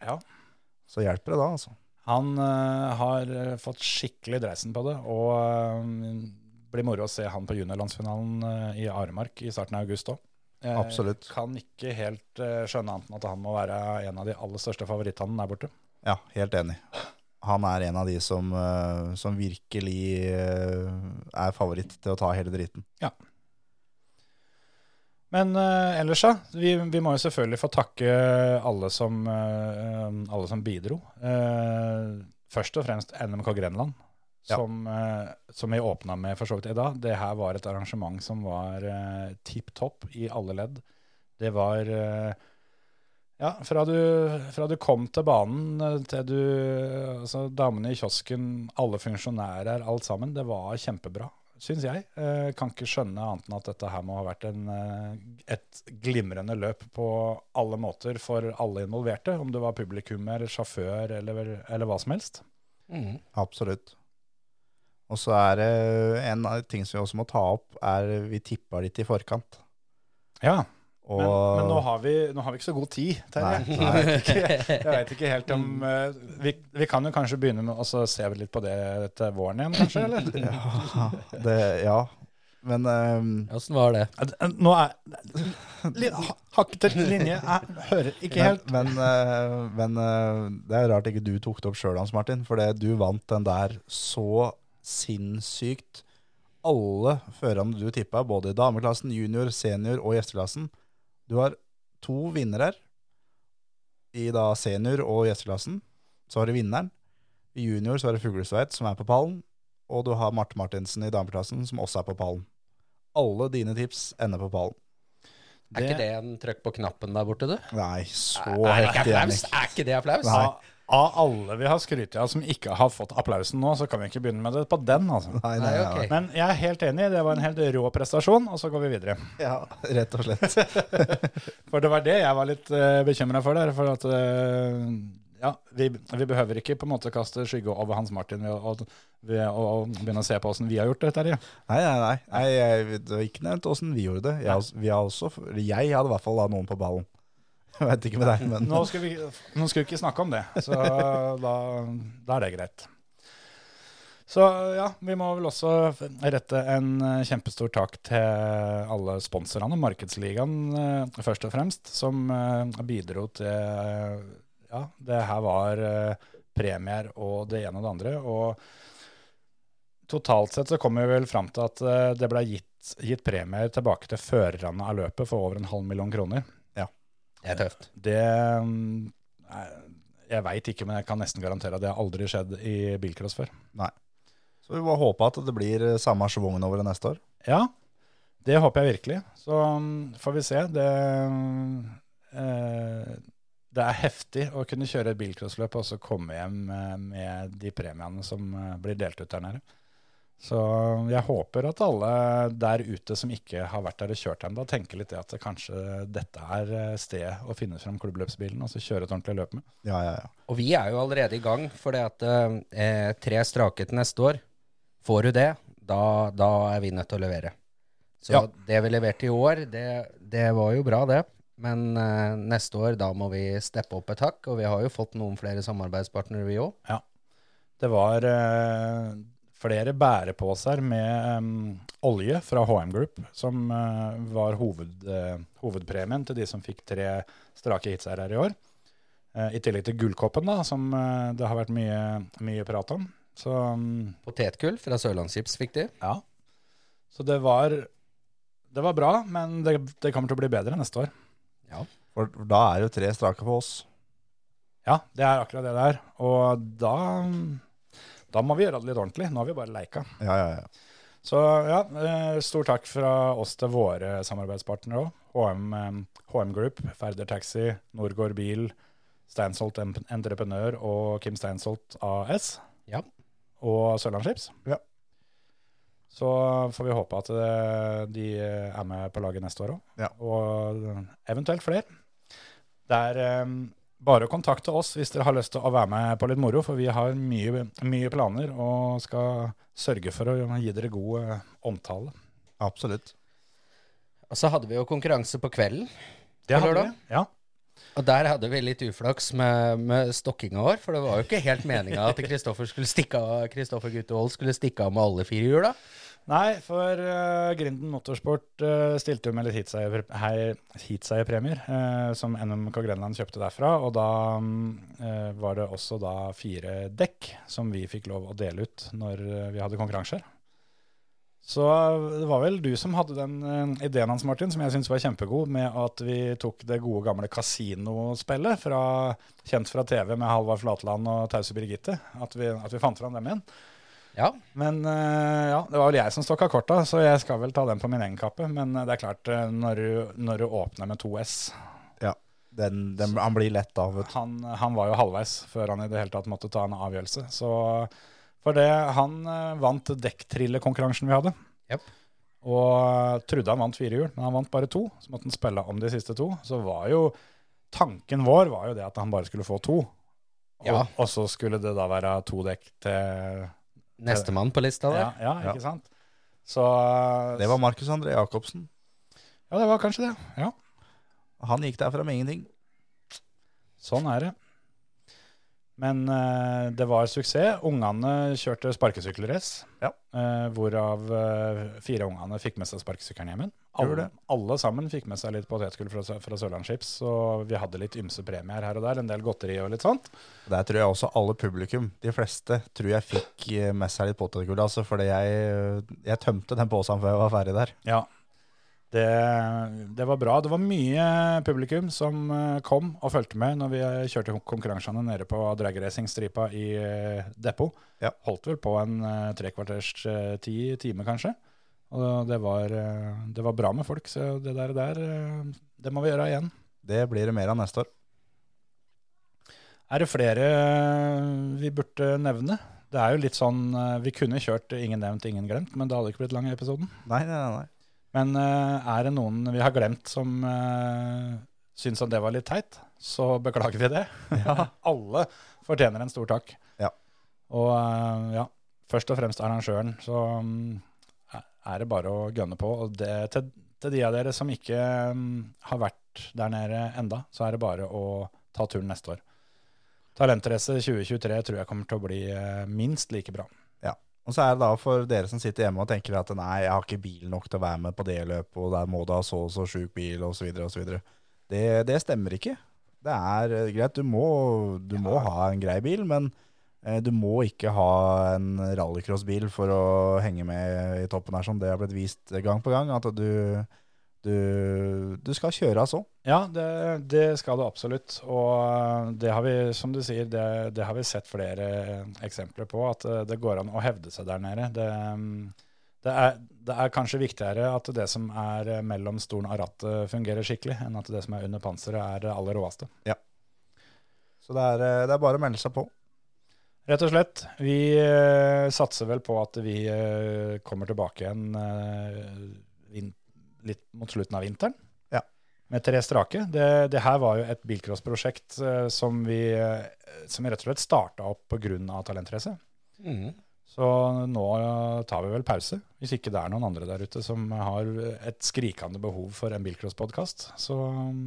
Speaker 4: Ja.
Speaker 6: så hjelper det da, altså.
Speaker 4: Han eh, har eh, fått skikkelig dreisen på det, og eh, blir moro å se han på juniorlandsfinalen eh, i Aremark i starten av august òg.
Speaker 6: Absolutt.
Speaker 4: Kan ikke helt eh, skjønne annet enn at han må være en av de aller største favorittene der borte.
Speaker 6: Ja, helt enig. Han er en av de som, eh, som virkelig eh, er favoritt til å ta hele driten.
Speaker 4: Men eh, ellers, ja. Vi, vi må jo selvfølgelig få takke alle som, eh, alle som bidro. Eh, først og fremst NMK Grenland,
Speaker 6: Ja.
Speaker 4: som, eh, som vi åpna med for så vidt i dag. Det her var et arrangement som var uh, tipp topp i alle ledd. Det var eh, Ja, fra du, fra du kom til banen eh, til du eh, Altså, damene i kiosken, alle funksjonærer, alt sammen. Det var kjempebra. syns jeg. Eh, Kan ikke skjønne annet enn at dette her må ha vært en, eh, et glimrende løp på alle måter for alle involverte, om du var publikummer, sjåfør eller, eller hva som helst.
Speaker 5: Mm.
Speaker 6: Absolutt. Og så er det en av de ting som vi også må ta opp, er vi tippa litt i forkant.
Speaker 4: Ja,
Speaker 6: Og
Speaker 4: men, men nå, har vi, nå har vi ikke så god tid, Terje.
Speaker 6: Nei, nei.
Speaker 4: Jeg vet ikke- Jeg veit ikke helt om eh, vi, vi kan jo kanskje begynne med å så se litt på det til våren igjen, kanskje? eller?
Speaker 6: ja, det, ja. Men ehm,
Speaker 5: Åssen var det?
Speaker 4: Ja, d- Nå er li- ha- Hakket til linje jeg hører ikke helt.
Speaker 6: Men, men, eh, men eh, det er rart ikke du tok det opp sjøl, Hans Martin. For det- du vant den der så sinnssykt. Alle førerne du tippa, både i dameklassen, junior, senior og gjesteklassen. Du har to vinnere i da senior og gjesteklassen. Så har du vinneren. I junior så er det Fuglesveit som er på pallen. Og du har Marte Martinsen i dameklassen som også er på pallen. Alle dine tips ender på pallen.
Speaker 5: Er ikke det en trøkk på knappen der borte, du?
Speaker 6: Nei, så
Speaker 5: er, det ikke
Speaker 6: heftig.
Speaker 5: applaus?
Speaker 6: Henrik.
Speaker 5: er ikke det applaus?
Speaker 6: Nei.
Speaker 4: Av, av alle vi har skrytt av som ikke har fått applausen nå, så kan vi ikke begynne med det på den. altså.
Speaker 6: Nei,
Speaker 5: Nei,
Speaker 6: nei,
Speaker 5: ok.
Speaker 6: nei.
Speaker 4: Men jeg er helt enig, det var en helt rå prestasjon, og så går vi videre.
Speaker 6: Ja, rett og slett.
Speaker 4: For det var det jeg var litt uh, bekymra for der. For at eh, ja, vi, vi behøver ikke på en måte kaste skygge over Hans Martin ved å, ved å, å begynne å se på åssen vi har gjort det. Terje.
Speaker 6: Nei, nei, nei. nei jeg, det var ikke nevnt åssen vi gjorde det. Jeg, også- vi har også, jeg hadde i hvert fall da noen på ballen. Jeg vet ikke med deg, men
Speaker 4: Nå skal, vi, nå skal vi ikke snakke om det, så da, da er det greit. Så ja, vi må vel også rette en eh, kjempestor takk til alle sponsorene, Markedsligaen eh, først og fremst, som eh, bidro til eh, Ja, det her var eh, premier og det ene og det andre. Og totalt sett så kom vi vel fram til at eh, det ble gitt, gitt premier tilbake til førerne av løpet for over en halv million kroner.
Speaker 5: Det er tøft.
Speaker 4: Det mm, er- Jeg veit ikke, men jeg kan nesten garantere at det har aldri skjedd i bilcross før.
Speaker 6: Så vi må håpe at det blir eh, samme schwungen over det neste år.
Speaker 4: Ja, det håper jeg virkelig. Så mm, får vi se. Det, mm, eh, det er heftig å kunne kjøre et bilcrossløp og så komme hjem eh, med de premiene som eh, blir delt ut der nede. Så mm, jeg håper at alle der ute som ikke har vært der og kjørt ennå, tenker litt det at kanskje dette er eh, stedet å finne fram klubbløpsbilen og så kjøre et ordentlig løp med.
Speaker 6: Ja, ja, ja.
Speaker 5: Og vi er jo allerede i gang, for det at eh, tre strake til neste år, får du det, da, da er vi nødt til å levere. Så
Speaker 6: Ja.
Speaker 5: det vi leverte i år, det, det var jo bra, det. Men eh, neste år, da må vi steppe opp et hakk, og vi har jo fått noen flere samarbeidspartnere, vi òg.
Speaker 4: Det var eh, flere bærepåser med em, olje fra HM Group, som eh, var hoved, eh, hovedpremien til de som fikk tre strake hitseier her i år. Eh, I tillegg til gullkoppen, da, som eh, det har vært mye, mye prat om. Så, mm,
Speaker 5: Potetgull fra Sørlandschips fikk de.
Speaker 4: ja. Så det var, det var bra, men det, det kommer til å bli bedre neste år.
Speaker 6: For da er det jo tre strake på oss.
Speaker 4: Ja, det er akkurat det det er. Og da, mm, da må vi gjøre det litt ordentlig. Nå har vi bare leika.
Speaker 6: Ja, ja, ja.
Speaker 4: Så ja, eh, stor takk fra oss til våre samarbeidspartnere òg. HM, eh, HM Group, Færder Taxi, Norgård Bil, Steinsolt Emp- Entreprenør og Kim Steinsolt AS.
Speaker 5: Ja.
Speaker 4: Og Sørlandsskips.
Speaker 6: Ja.
Speaker 4: Så får vi håpe at eh, de er med på laget neste år òg,
Speaker 6: Ja.
Speaker 4: og eh, eventuelt flere. Det er eh, bare å kontakte oss hvis dere har lyst til å være med på litt moro, for vi har mye, mye planer og skal sørge for å gi dere god eh, omtale.
Speaker 6: Absolutt.
Speaker 5: Og så hadde vi jo konkurranse på kvelden.
Speaker 4: Det
Speaker 5: På
Speaker 4: hadde
Speaker 5: lørdag?
Speaker 4: vi. Ja.
Speaker 5: Og der hadde vi litt uflaks med, med stokkinga vår, for det var jo ikke helt meninga at Kristoffer skulle stikke av, Kristoffer Guttevold skulle stikke av med alle fire hjula.
Speaker 4: Nei, for eh, Grinden Motorsport eh, stilte jo med litt heatseie- hei- heatseiepremier, uh, som NMK Grenland kjøpte derfra. Og da mm, eh, var det også da fire dekk som vi fikk lov å dele ut når eh, vi hadde konkurranser. Så eh, det var vel du som hadde den eh, ideen hans, Martin, som jeg syns var kjempegod, med at vi tok det gode gamle kasinospillet fra, kjent fra TV med Halvard Flatland og Tause Birgitte. At vi, at vi fant fram dem igjen.
Speaker 5: Ja,
Speaker 4: Men eh, ja, det var vel jeg som stokka korta, så jeg skal vel ta den på min egen kappe. Men eh, det er klart, eh, når du, når du åpner med to S
Speaker 6: Den, den, han blir lett av, vet du.
Speaker 4: han, han var jo halvveis før han i det hele tatt måtte ta en avgjørelse. Så for det, han eh, vant dekkthrillekonkurransen vi hadde.
Speaker 5: Jep.
Speaker 4: Og eh, trodde han vant fire hjul, men han vant bare to. Så måtte han spille om de siste to. Så var jo tanken vår var jo det at han bare skulle få to. Og,
Speaker 5: Ja.
Speaker 4: og så skulle det da være to dekk til
Speaker 5: Nestemann på lista der.
Speaker 4: Ja, ja
Speaker 6: Ja.
Speaker 4: ikke sant? Så
Speaker 6: Det var Markus André Jacobsen.
Speaker 4: Ja, det var kanskje det. Ja.
Speaker 6: Han gikk derfra med ingenting.
Speaker 4: Sånn er det. Men eh, det var suksess. Ungene kjørte sparkesykkelrace.
Speaker 6: Ja.
Speaker 4: eh, hvorav eh, fire ungene fikk med seg sparkesykkelen hjemmen. Alle,
Speaker 6: Gjorde det.
Speaker 4: alle sammen fikk med seg litt potetgull fra, Sø- fra Sørlandschips. Og vi hadde litt ymse premier her og der. En del godteri og litt sånn. sånt.
Speaker 6: Der tror jeg også alle publikum, de fleste, tror jeg fikk eh, med seg litt potetgull. Altså, fordi jeg, eh, jeg tømte den posen før jeg var ferdig der.
Speaker 4: Ja. Det, det var bra. Det var mye publikum som eh, kom og fulgte med når vi eh, kjørte konkurransene nede på dragracingstripa i eh, Depot.
Speaker 6: Ja.
Speaker 4: Holdt vel på en eh, tre kvarters eh, ti time, kanskje. Og det var, eh, det var bra med folk, så det der, der eh, det må vi gjøre igjen.
Speaker 6: Det blir det mer av neste år.
Speaker 4: Er det flere eh, vi burde nevne? Det er jo litt sånn, eh, Vi kunne kjørt Ingen nevnt, ingen glemt, men det hadde ikke blitt lang i episoden.
Speaker 6: Nei, nei, nei. nei.
Speaker 4: Men eh, er det noen vi har glemt som uh, syns at det var litt teit, så beklager vi det. Alle fortjener en stor takk.
Speaker 6: Ja.
Speaker 4: Og eh, ja, først og fremst arrangøren, så mm, er det bare å gønne på. Og det, til, til de av dere som ikke mm, har vært der nede enda, så er det bare å ta turen neste år. Talentrace 2023 tror jeg kommer til å bli eh, minst like bra.
Speaker 6: Og så er det da for dere som sitter hjemme og tenker at nei, jeg har ikke bil nok til å være med på det løpet, og der må du ha så og så sjuk bil, og så videre, og så videre. Det, det stemmer ikke. Det er eh, greit, du må, du må ha en grei bil, men eh, du må ikke ha en rallycrossbil for å henge med i toppen her, som det har blitt vist gang på gang, at du, du, du skal kjøre av så.
Speaker 4: Ja, det, det skal det absolutt. Og eh, det har vi, som du sier, det, det har vi sett flere eksempler på, at eh, det går an å hevde seg der nede. Det, mm, det, er, det er kanskje viktigere at det som er eh, mellom stolen og rattet fungerer skikkelig, enn at det som er under panseret er det aller råeste.
Speaker 6: Så det er, eh, det er bare å melde seg på.
Speaker 4: Rett og slett. Vi eh, satser vel på at vi eh, kommer tilbake igjen eh, vin- litt mot slutten av vinteren.
Speaker 6: Ja.
Speaker 4: Med tre strake. Det, det her var jo et bilcrossprosjekt eh, som vi eh, som rett og slett starta opp pga. talentrace.
Speaker 5: Mm.
Speaker 4: Så nå tar vi vel pause. Hvis ikke det er noen andre der ute som har et skrikende behov for en bilcrosspodkast, så um,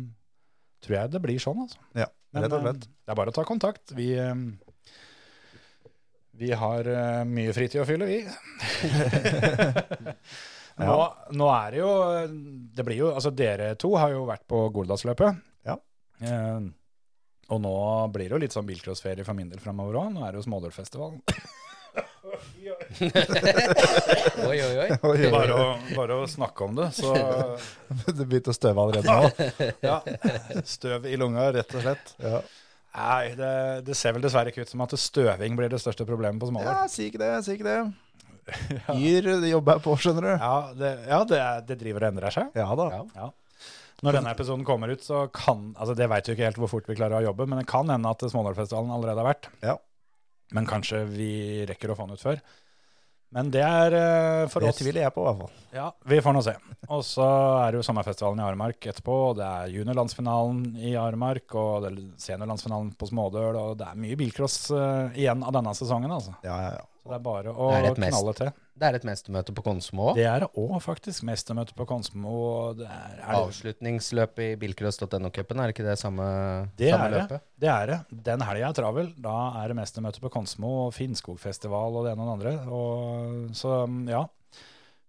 Speaker 4: tror jeg det blir sånn, altså.
Speaker 6: Ja,
Speaker 4: Men,
Speaker 6: rett og
Speaker 4: eh,
Speaker 6: slett.
Speaker 4: Det er bare å ta kontakt. Vi, eh, vi har eh, mye fritid å fylle, vi. nå, nå er det jo Det blir jo Altså, dere to har jo vært på Goldalsløpet.
Speaker 6: Ja.
Speaker 4: Eh, og nå blir det jo litt sånn bilcrossferie for min del framover òg. Nå er det jo Smådølfestivalen.
Speaker 5: Oi, oi, oi.
Speaker 4: Bare å, bare å snakke om det, så
Speaker 6: Du begynte å støve allerede nå.
Speaker 4: ja, støv i lunga, rett og slett.
Speaker 6: Ja.
Speaker 4: Nei, det, det ser vel dessverre ikke ut som at støving blir det største problemet på
Speaker 6: Ja,
Speaker 4: Småler.
Speaker 6: si ikke det, si ikke det. Yr, det jobber jeg på, skjønner du.
Speaker 4: Ja, det, ja det, er- det driver og endrer seg.
Speaker 6: Ja da.
Speaker 5: Ja.
Speaker 4: Når denne episoden kommer ut, så kan altså Det veit jo ikke helt hvor fort vi klarer å jobbe, men det kan hende at Smådalfestivalen allerede har vært.
Speaker 6: Ja.
Speaker 4: Men kanskje vi rekker å få den ut før. Men det er eh, for
Speaker 6: Det
Speaker 4: oss
Speaker 6: tviler jeg på, i hvert fall.
Speaker 4: Ja, vi får nå se. Og så er det jo sommerfestivalen i Aremark etterpå, og det er juniorlandsfinalen i Aremark, og det er seniorlandsfinalen på Smådøl, og det er mye bilcross eh, igjen av denne sesongen, altså.
Speaker 6: Ja, ja, ja.
Speaker 4: Så det er bare å
Speaker 5: Det er et mest.
Speaker 4: knalle til.
Speaker 5: Det er et mestermøte på Konsmo òg.
Speaker 4: Det er òg faktisk mestermøte på Konsmo, og det er, er det,
Speaker 5: Avslutningsløpet i bilcross.no-cupen, er det ikke det samme,
Speaker 4: det
Speaker 5: samme
Speaker 4: er det.
Speaker 5: løpet?
Speaker 4: Det er det. Den helga er travel. Da er det mestermøte på Konsmo og Finnskogfestival og det ene og det andre. Og, så mm, ja.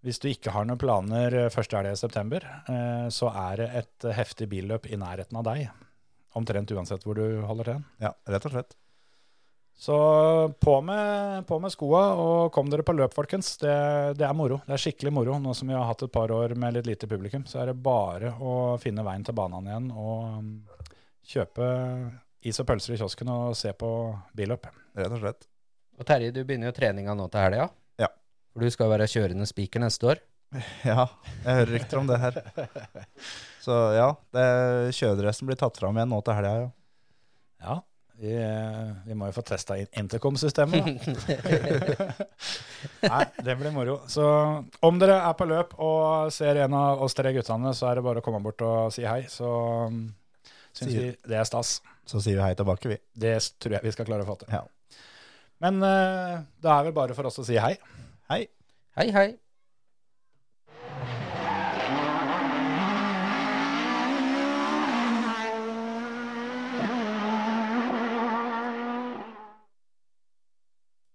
Speaker 4: Hvis du ikke har noen planer eh, første helga i september, eh, så er det et heftig billøp i nærheten av deg. Omtrent uansett hvor du holder til.
Speaker 6: ja rett og slett.
Speaker 4: Så på med, på med skoa og kom dere på løp, folkens. Det, det er moro. Det er skikkelig moro. Nå som vi har hatt et par år med litt lite publikum, så er det bare å finne veien til banene igjen og mm, kjøpe is og pølser i kiosken og se på billøp.
Speaker 6: Rett og slett.
Speaker 5: Og Terje, du begynner jo treninga nå til helga.
Speaker 6: Ja.
Speaker 5: For du skal jo være kjørende spiker neste år.
Speaker 6: Ja, jeg hører rykter om det her. Så ja, det, kjøredressen blir tatt fram igjen nå til helga, ja.
Speaker 4: Ja. Vi, eh, vi må jo få testa inn intercom-systemet, da. Nei, det blir moro. Så om dere er på løp og ser en av oss tre guttene, så er det bare å komme bort og si hei. Så mm, syns vi
Speaker 6: Sier-
Speaker 4: det er stas.
Speaker 6: Så sier vi hei tilbake, vi.
Speaker 4: Det s- tror jeg vi skal klare å få til.
Speaker 6: Ja.
Speaker 4: Men eh, det er vel bare for oss å si hei.
Speaker 6: Hei.
Speaker 5: Hei, hei.